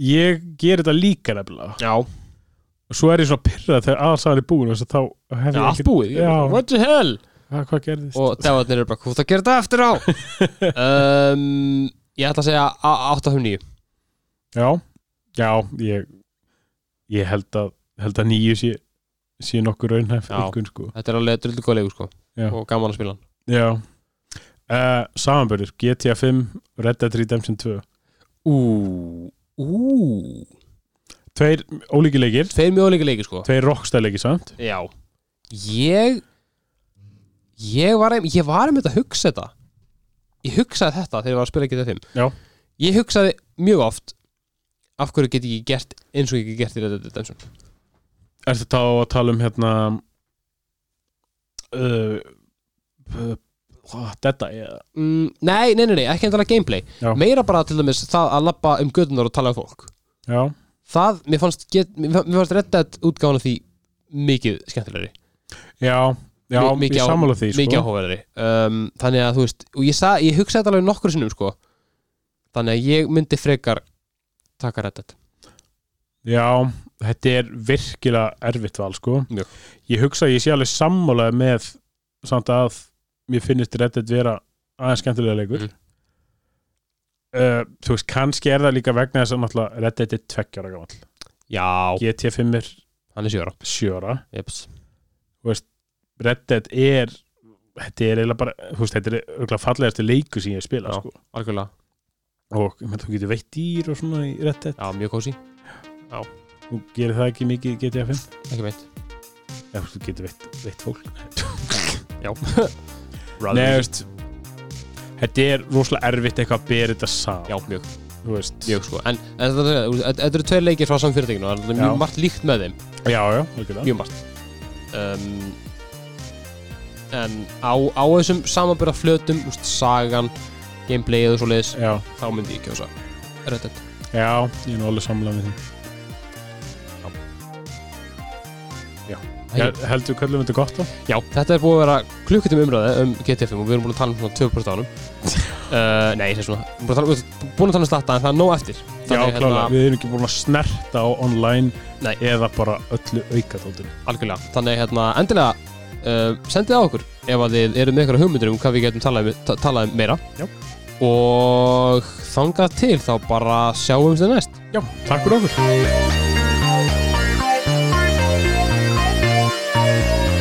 [SPEAKER 2] ég ger þetta líka nefnilega
[SPEAKER 1] já,
[SPEAKER 2] og svo er ég svona pyrrað þegar aðalsagan er búin þess að þá hef ég
[SPEAKER 1] allt búið, ég,
[SPEAKER 2] Já.
[SPEAKER 1] what the hell
[SPEAKER 2] Hva, hvað gerðist?
[SPEAKER 1] og devarnir eru bara, hvað þú gerir þetta eftir á um, ég ætla að segja a- 8-9
[SPEAKER 2] já, já, ég ég held að, held að nýju sé, sé nokkur raunhæf
[SPEAKER 1] Já.
[SPEAKER 2] einhvern sko
[SPEAKER 1] þetta er alveg drullu góð leikur sko
[SPEAKER 2] Já.
[SPEAKER 1] og gaman að spila hann
[SPEAKER 2] já uh, samanbörður, GTA 5 Red Dead Redemption 2
[SPEAKER 1] ú, ú
[SPEAKER 2] tveir ólíki leikir,
[SPEAKER 1] tveir mjög líka leiki sko
[SPEAKER 2] tveir rockstar leikir samt
[SPEAKER 1] já ég ég var einmitt ég var einmitt að hugsa þetta ég hugsaði þetta þegar ég var að spila GTA 5
[SPEAKER 2] Já.
[SPEAKER 1] ég hugsaði mjög oft af hverju get ég ekki gert eins og ég get gert í Red Dead Redemption
[SPEAKER 2] er þetta á að tala um hérna uh, uh, þetta ég
[SPEAKER 1] mm, nei, nei, nei, nei, ekki endala gameplay
[SPEAKER 2] Já.
[SPEAKER 1] meira bara til dæmis það að labba um gödunar og tala um fólk
[SPEAKER 2] já,
[SPEAKER 1] það, mér fannst, get, mér fa- mér fannst Red Dead útgáfan af því mikið skemmtilegri
[SPEAKER 2] já, já
[SPEAKER 1] Mi- mikið
[SPEAKER 2] ég
[SPEAKER 1] á-
[SPEAKER 2] sammála því sko.
[SPEAKER 1] mikið áhugaverðri um, þannig að þú veist, og ég, sa, ég hugsaði þetta alveg nokkur sinnum sko þannig að ég myndi frekar taka Reddit
[SPEAKER 2] Já, þetta er virkilega erfitt val sko.
[SPEAKER 1] Já.
[SPEAKER 2] Ég hugsa að ég sé alveg sammálaði með samt að mér finnist Reddit vera aðeins skemmtilega leikur
[SPEAKER 1] Mhm.
[SPEAKER 2] uh, Þú veist, kannski er það líka vegna þess að náttúrulega Reddit er tveggjara gamall
[SPEAKER 1] Já,
[SPEAKER 2] GT5 er
[SPEAKER 1] hann er sjöra
[SPEAKER 2] sjöra
[SPEAKER 1] Jeps.
[SPEAKER 2] Reddit er þetta er eiginlega bara, þú veist, þetta er örugglega fallegasti leikur sem ég spila
[SPEAKER 1] Já.
[SPEAKER 2] sko.
[SPEAKER 1] Algjörlega,
[SPEAKER 2] og ég meina, þú getur veitt dýr og svona í Reddit
[SPEAKER 1] já, mjög kósi,
[SPEAKER 2] þú gerir það ekki mikið í GTA 5
[SPEAKER 1] ekki meint
[SPEAKER 2] Já, þú getur veitt, veitt fólk
[SPEAKER 1] Já
[SPEAKER 2] Nei, þú veist Þetta er rosalega erfitt eitthvað að bera þetta saman
[SPEAKER 1] Já, mjög,
[SPEAKER 2] Þú veist
[SPEAKER 1] mjög sko En, en þetta er- þú veist, þetta eru tveir leikir frá samfyrirtækinu og Það er
[SPEAKER 2] Já.
[SPEAKER 1] mjög margt líkt með þeim
[SPEAKER 2] Já, já, algjörlega
[SPEAKER 1] Mjög margt um, En á, á þessum samanbyrða flötum úst, Sagan, gameplayið og svoleiðis
[SPEAKER 2] Já,
[SPEAKER 1] Þá myndi ég kjósa Reddit
[SPEAKER 2] já, ég er nú alveg samlega með því
[SPEAKER 1] Já,
[SPEAKER 2] Hel- Heldur við kallum þetta gott þá?
[SPEAKER 1] já, þetta er búið að vera klukkutum umræði um GT5 og við erum búin að tala um svona 2% ánum uh, Nei, ég sé svona Búin að tala, um- búin að tala um slata en það er nóg eftir
[SPEAKER 2] Já,
[SPEAKER 1] Þannig, hérna-
[SPEAKER 2] klálega, við erum ekki búin að snerta á online
[SPEAKER 1] Nei.
[SPEAKER 2] eða bara öllu aukatóttinu
[SPEAKER 1] algjörlega, þannig hérna endilega uh, sendið á okkur ef að þið eru með eitthvað hugmyndir um hvað við getum talað um, ta- talað um meira
[SPEAKER 2] Já.
[SPEAKER 1] og þangað til þá bara sjáumst þið næst
[SPEAKER 2] Já, takk fyrir okkur